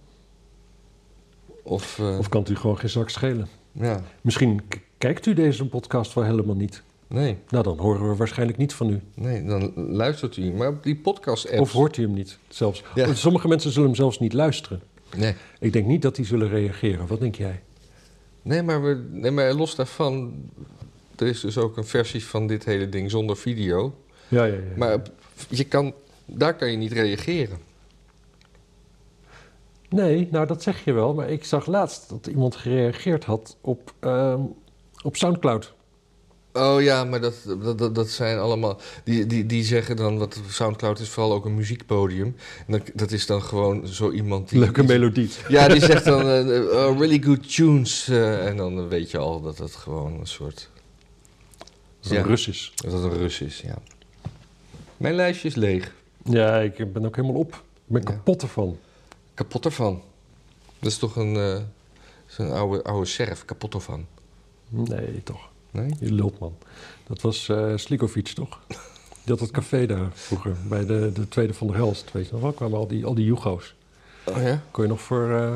[SPEAKER 2] Of, eh,
[SPEAKER 1] Of kan het u gewoon geen zak schelen?
[SPEAKER 2] ja,
[SPEAKER 1] Misschien k- kijkt u deze podcast wel helemaal niet.
[SPEAKER 2] nee,
[SPEAKER 1] Nou, dan horen we waarschijnlijk niet van u.
[SPEAKER 2] nee, dan luistert u. Maar op die podcast-app...
[SPEAKER 1] Of hoort u hem niet zelfs.
[SPEAKER 2] Ja.
[SPEAKER 1] Sommige mensen zullen hem zelfs niet luisteren.
[SPEAKER 2] Nee.
[SPEAKER 1] Ik denk niet dat die zullen reageren. Wat denk jij?
[SPEAKER 2] Nee maar, we, nee, maar los daarvan, er is dus ook een versie van dit hele ding zonder video.
[SPEAKER 1] Ja, ja, ja.
[SPEAKER 2] Maar je kan, daar kan je niet reageren.
[SPEAKER 1] Nee, nou dat zeg je wel. Maar ik zag laatst dat iemand gereageerd had op, ehm, op Soundcloud.
[SPEAKER 2] Oh ja, maar dat, dat, dat, dat zijn allemaal... Die, die, die zeggen dan, wat Soundcloud is vooral ook een muziekpodium. En dat, dat is dan gewoon zo iemand die...
[SPEAKER 1] Leuke
[SPEAKER 2] die-
[SPEAKER 1] melodie.
[SPEAKER 2] Ja, die zegt dan eh, eh, really good tunes. eh, en dan weet je al dat dat gewoon een soort...
[SPEAKER 1] Dat ja. Russisch.
[SPEAKER 2] Dat het een Rus is, ja. Mijn lijstje is leeg.
[SPEAKER 1] Ja, ik ben ook helemaal op. Ik ben
[SPEAKER 2] Ja.
[SPEAKER 1] kapot ervan.
[SPEAKER 2] Kapot ervan. Dat is toch een, eh, dat is een oude, oude serf, kapot ervan.
[SPEAKER 1] Nee, toch.
[SPEAKER 2] Nee?
[SPEAKER 1] Je lult, man. Dat was eh Slikovic, toch? Die had dat café daar vroeger, bij de, de Tweede van der Helst. Weet je nog wel, kwamen al die, al die Jugo's.
[SPEAKER 2] Oh ja?
[SPEAKER 1] Kon je nog voor, eh,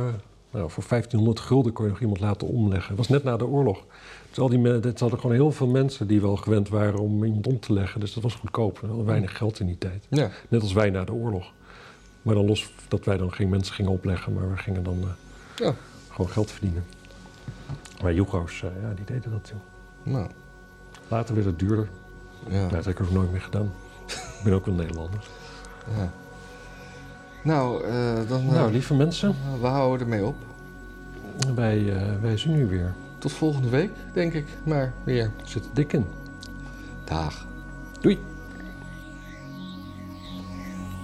[SPEAKER 1] nou, voor 1500 gulden kon je nog iemand laten omleggen. Dat was net na de oorlog. Dus al die men- dit hadden gewoon heel veel mensen die wel gewend waren om iemand om te leggen. Dus dat was goedkoop. We hadden weinig geld in die tijd.
[SPEAKER 2] Ja.
[SPEAKER 1] Net als wij na de oorlog. Maar dan los dat wij dan geen mensen gingen opleggen, maar we gingen dan eh,
[SPEAKER 2] ja.
[SPEAKER 1] gewoon geld verdienen. Maar Jugo's, eh, ja, die deden dat. Joh.
[SPEAKER 2] Nou,
[SPEAKER 1] Later werd het duurder.
[SPEAKER 2] ja.
[SPEAKER 1] Dat heb ik ook nooit meer gedaan. ik ben ook een Nederlander.
[SPEAKER 2] ja. Nou, eh, dan... eh,
[SPEAKER 1] Nou, lieve mensen,
[SPEAKER 2] we houden ermee op.
[SPEAKER 1] wij, eh, wij zijn nu weer.
[SPEAKER 2] Tot volgende week, denk ik. Maar weer.
[SPEAKER 1] Het zit er dik in.
[SPEAKER 2] Dag.
[SPEAKER 1] Doei.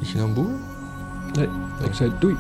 [SPEAKER 2] Is je nou een boer?
[SPEAKER 1] Nee, ik zei doei.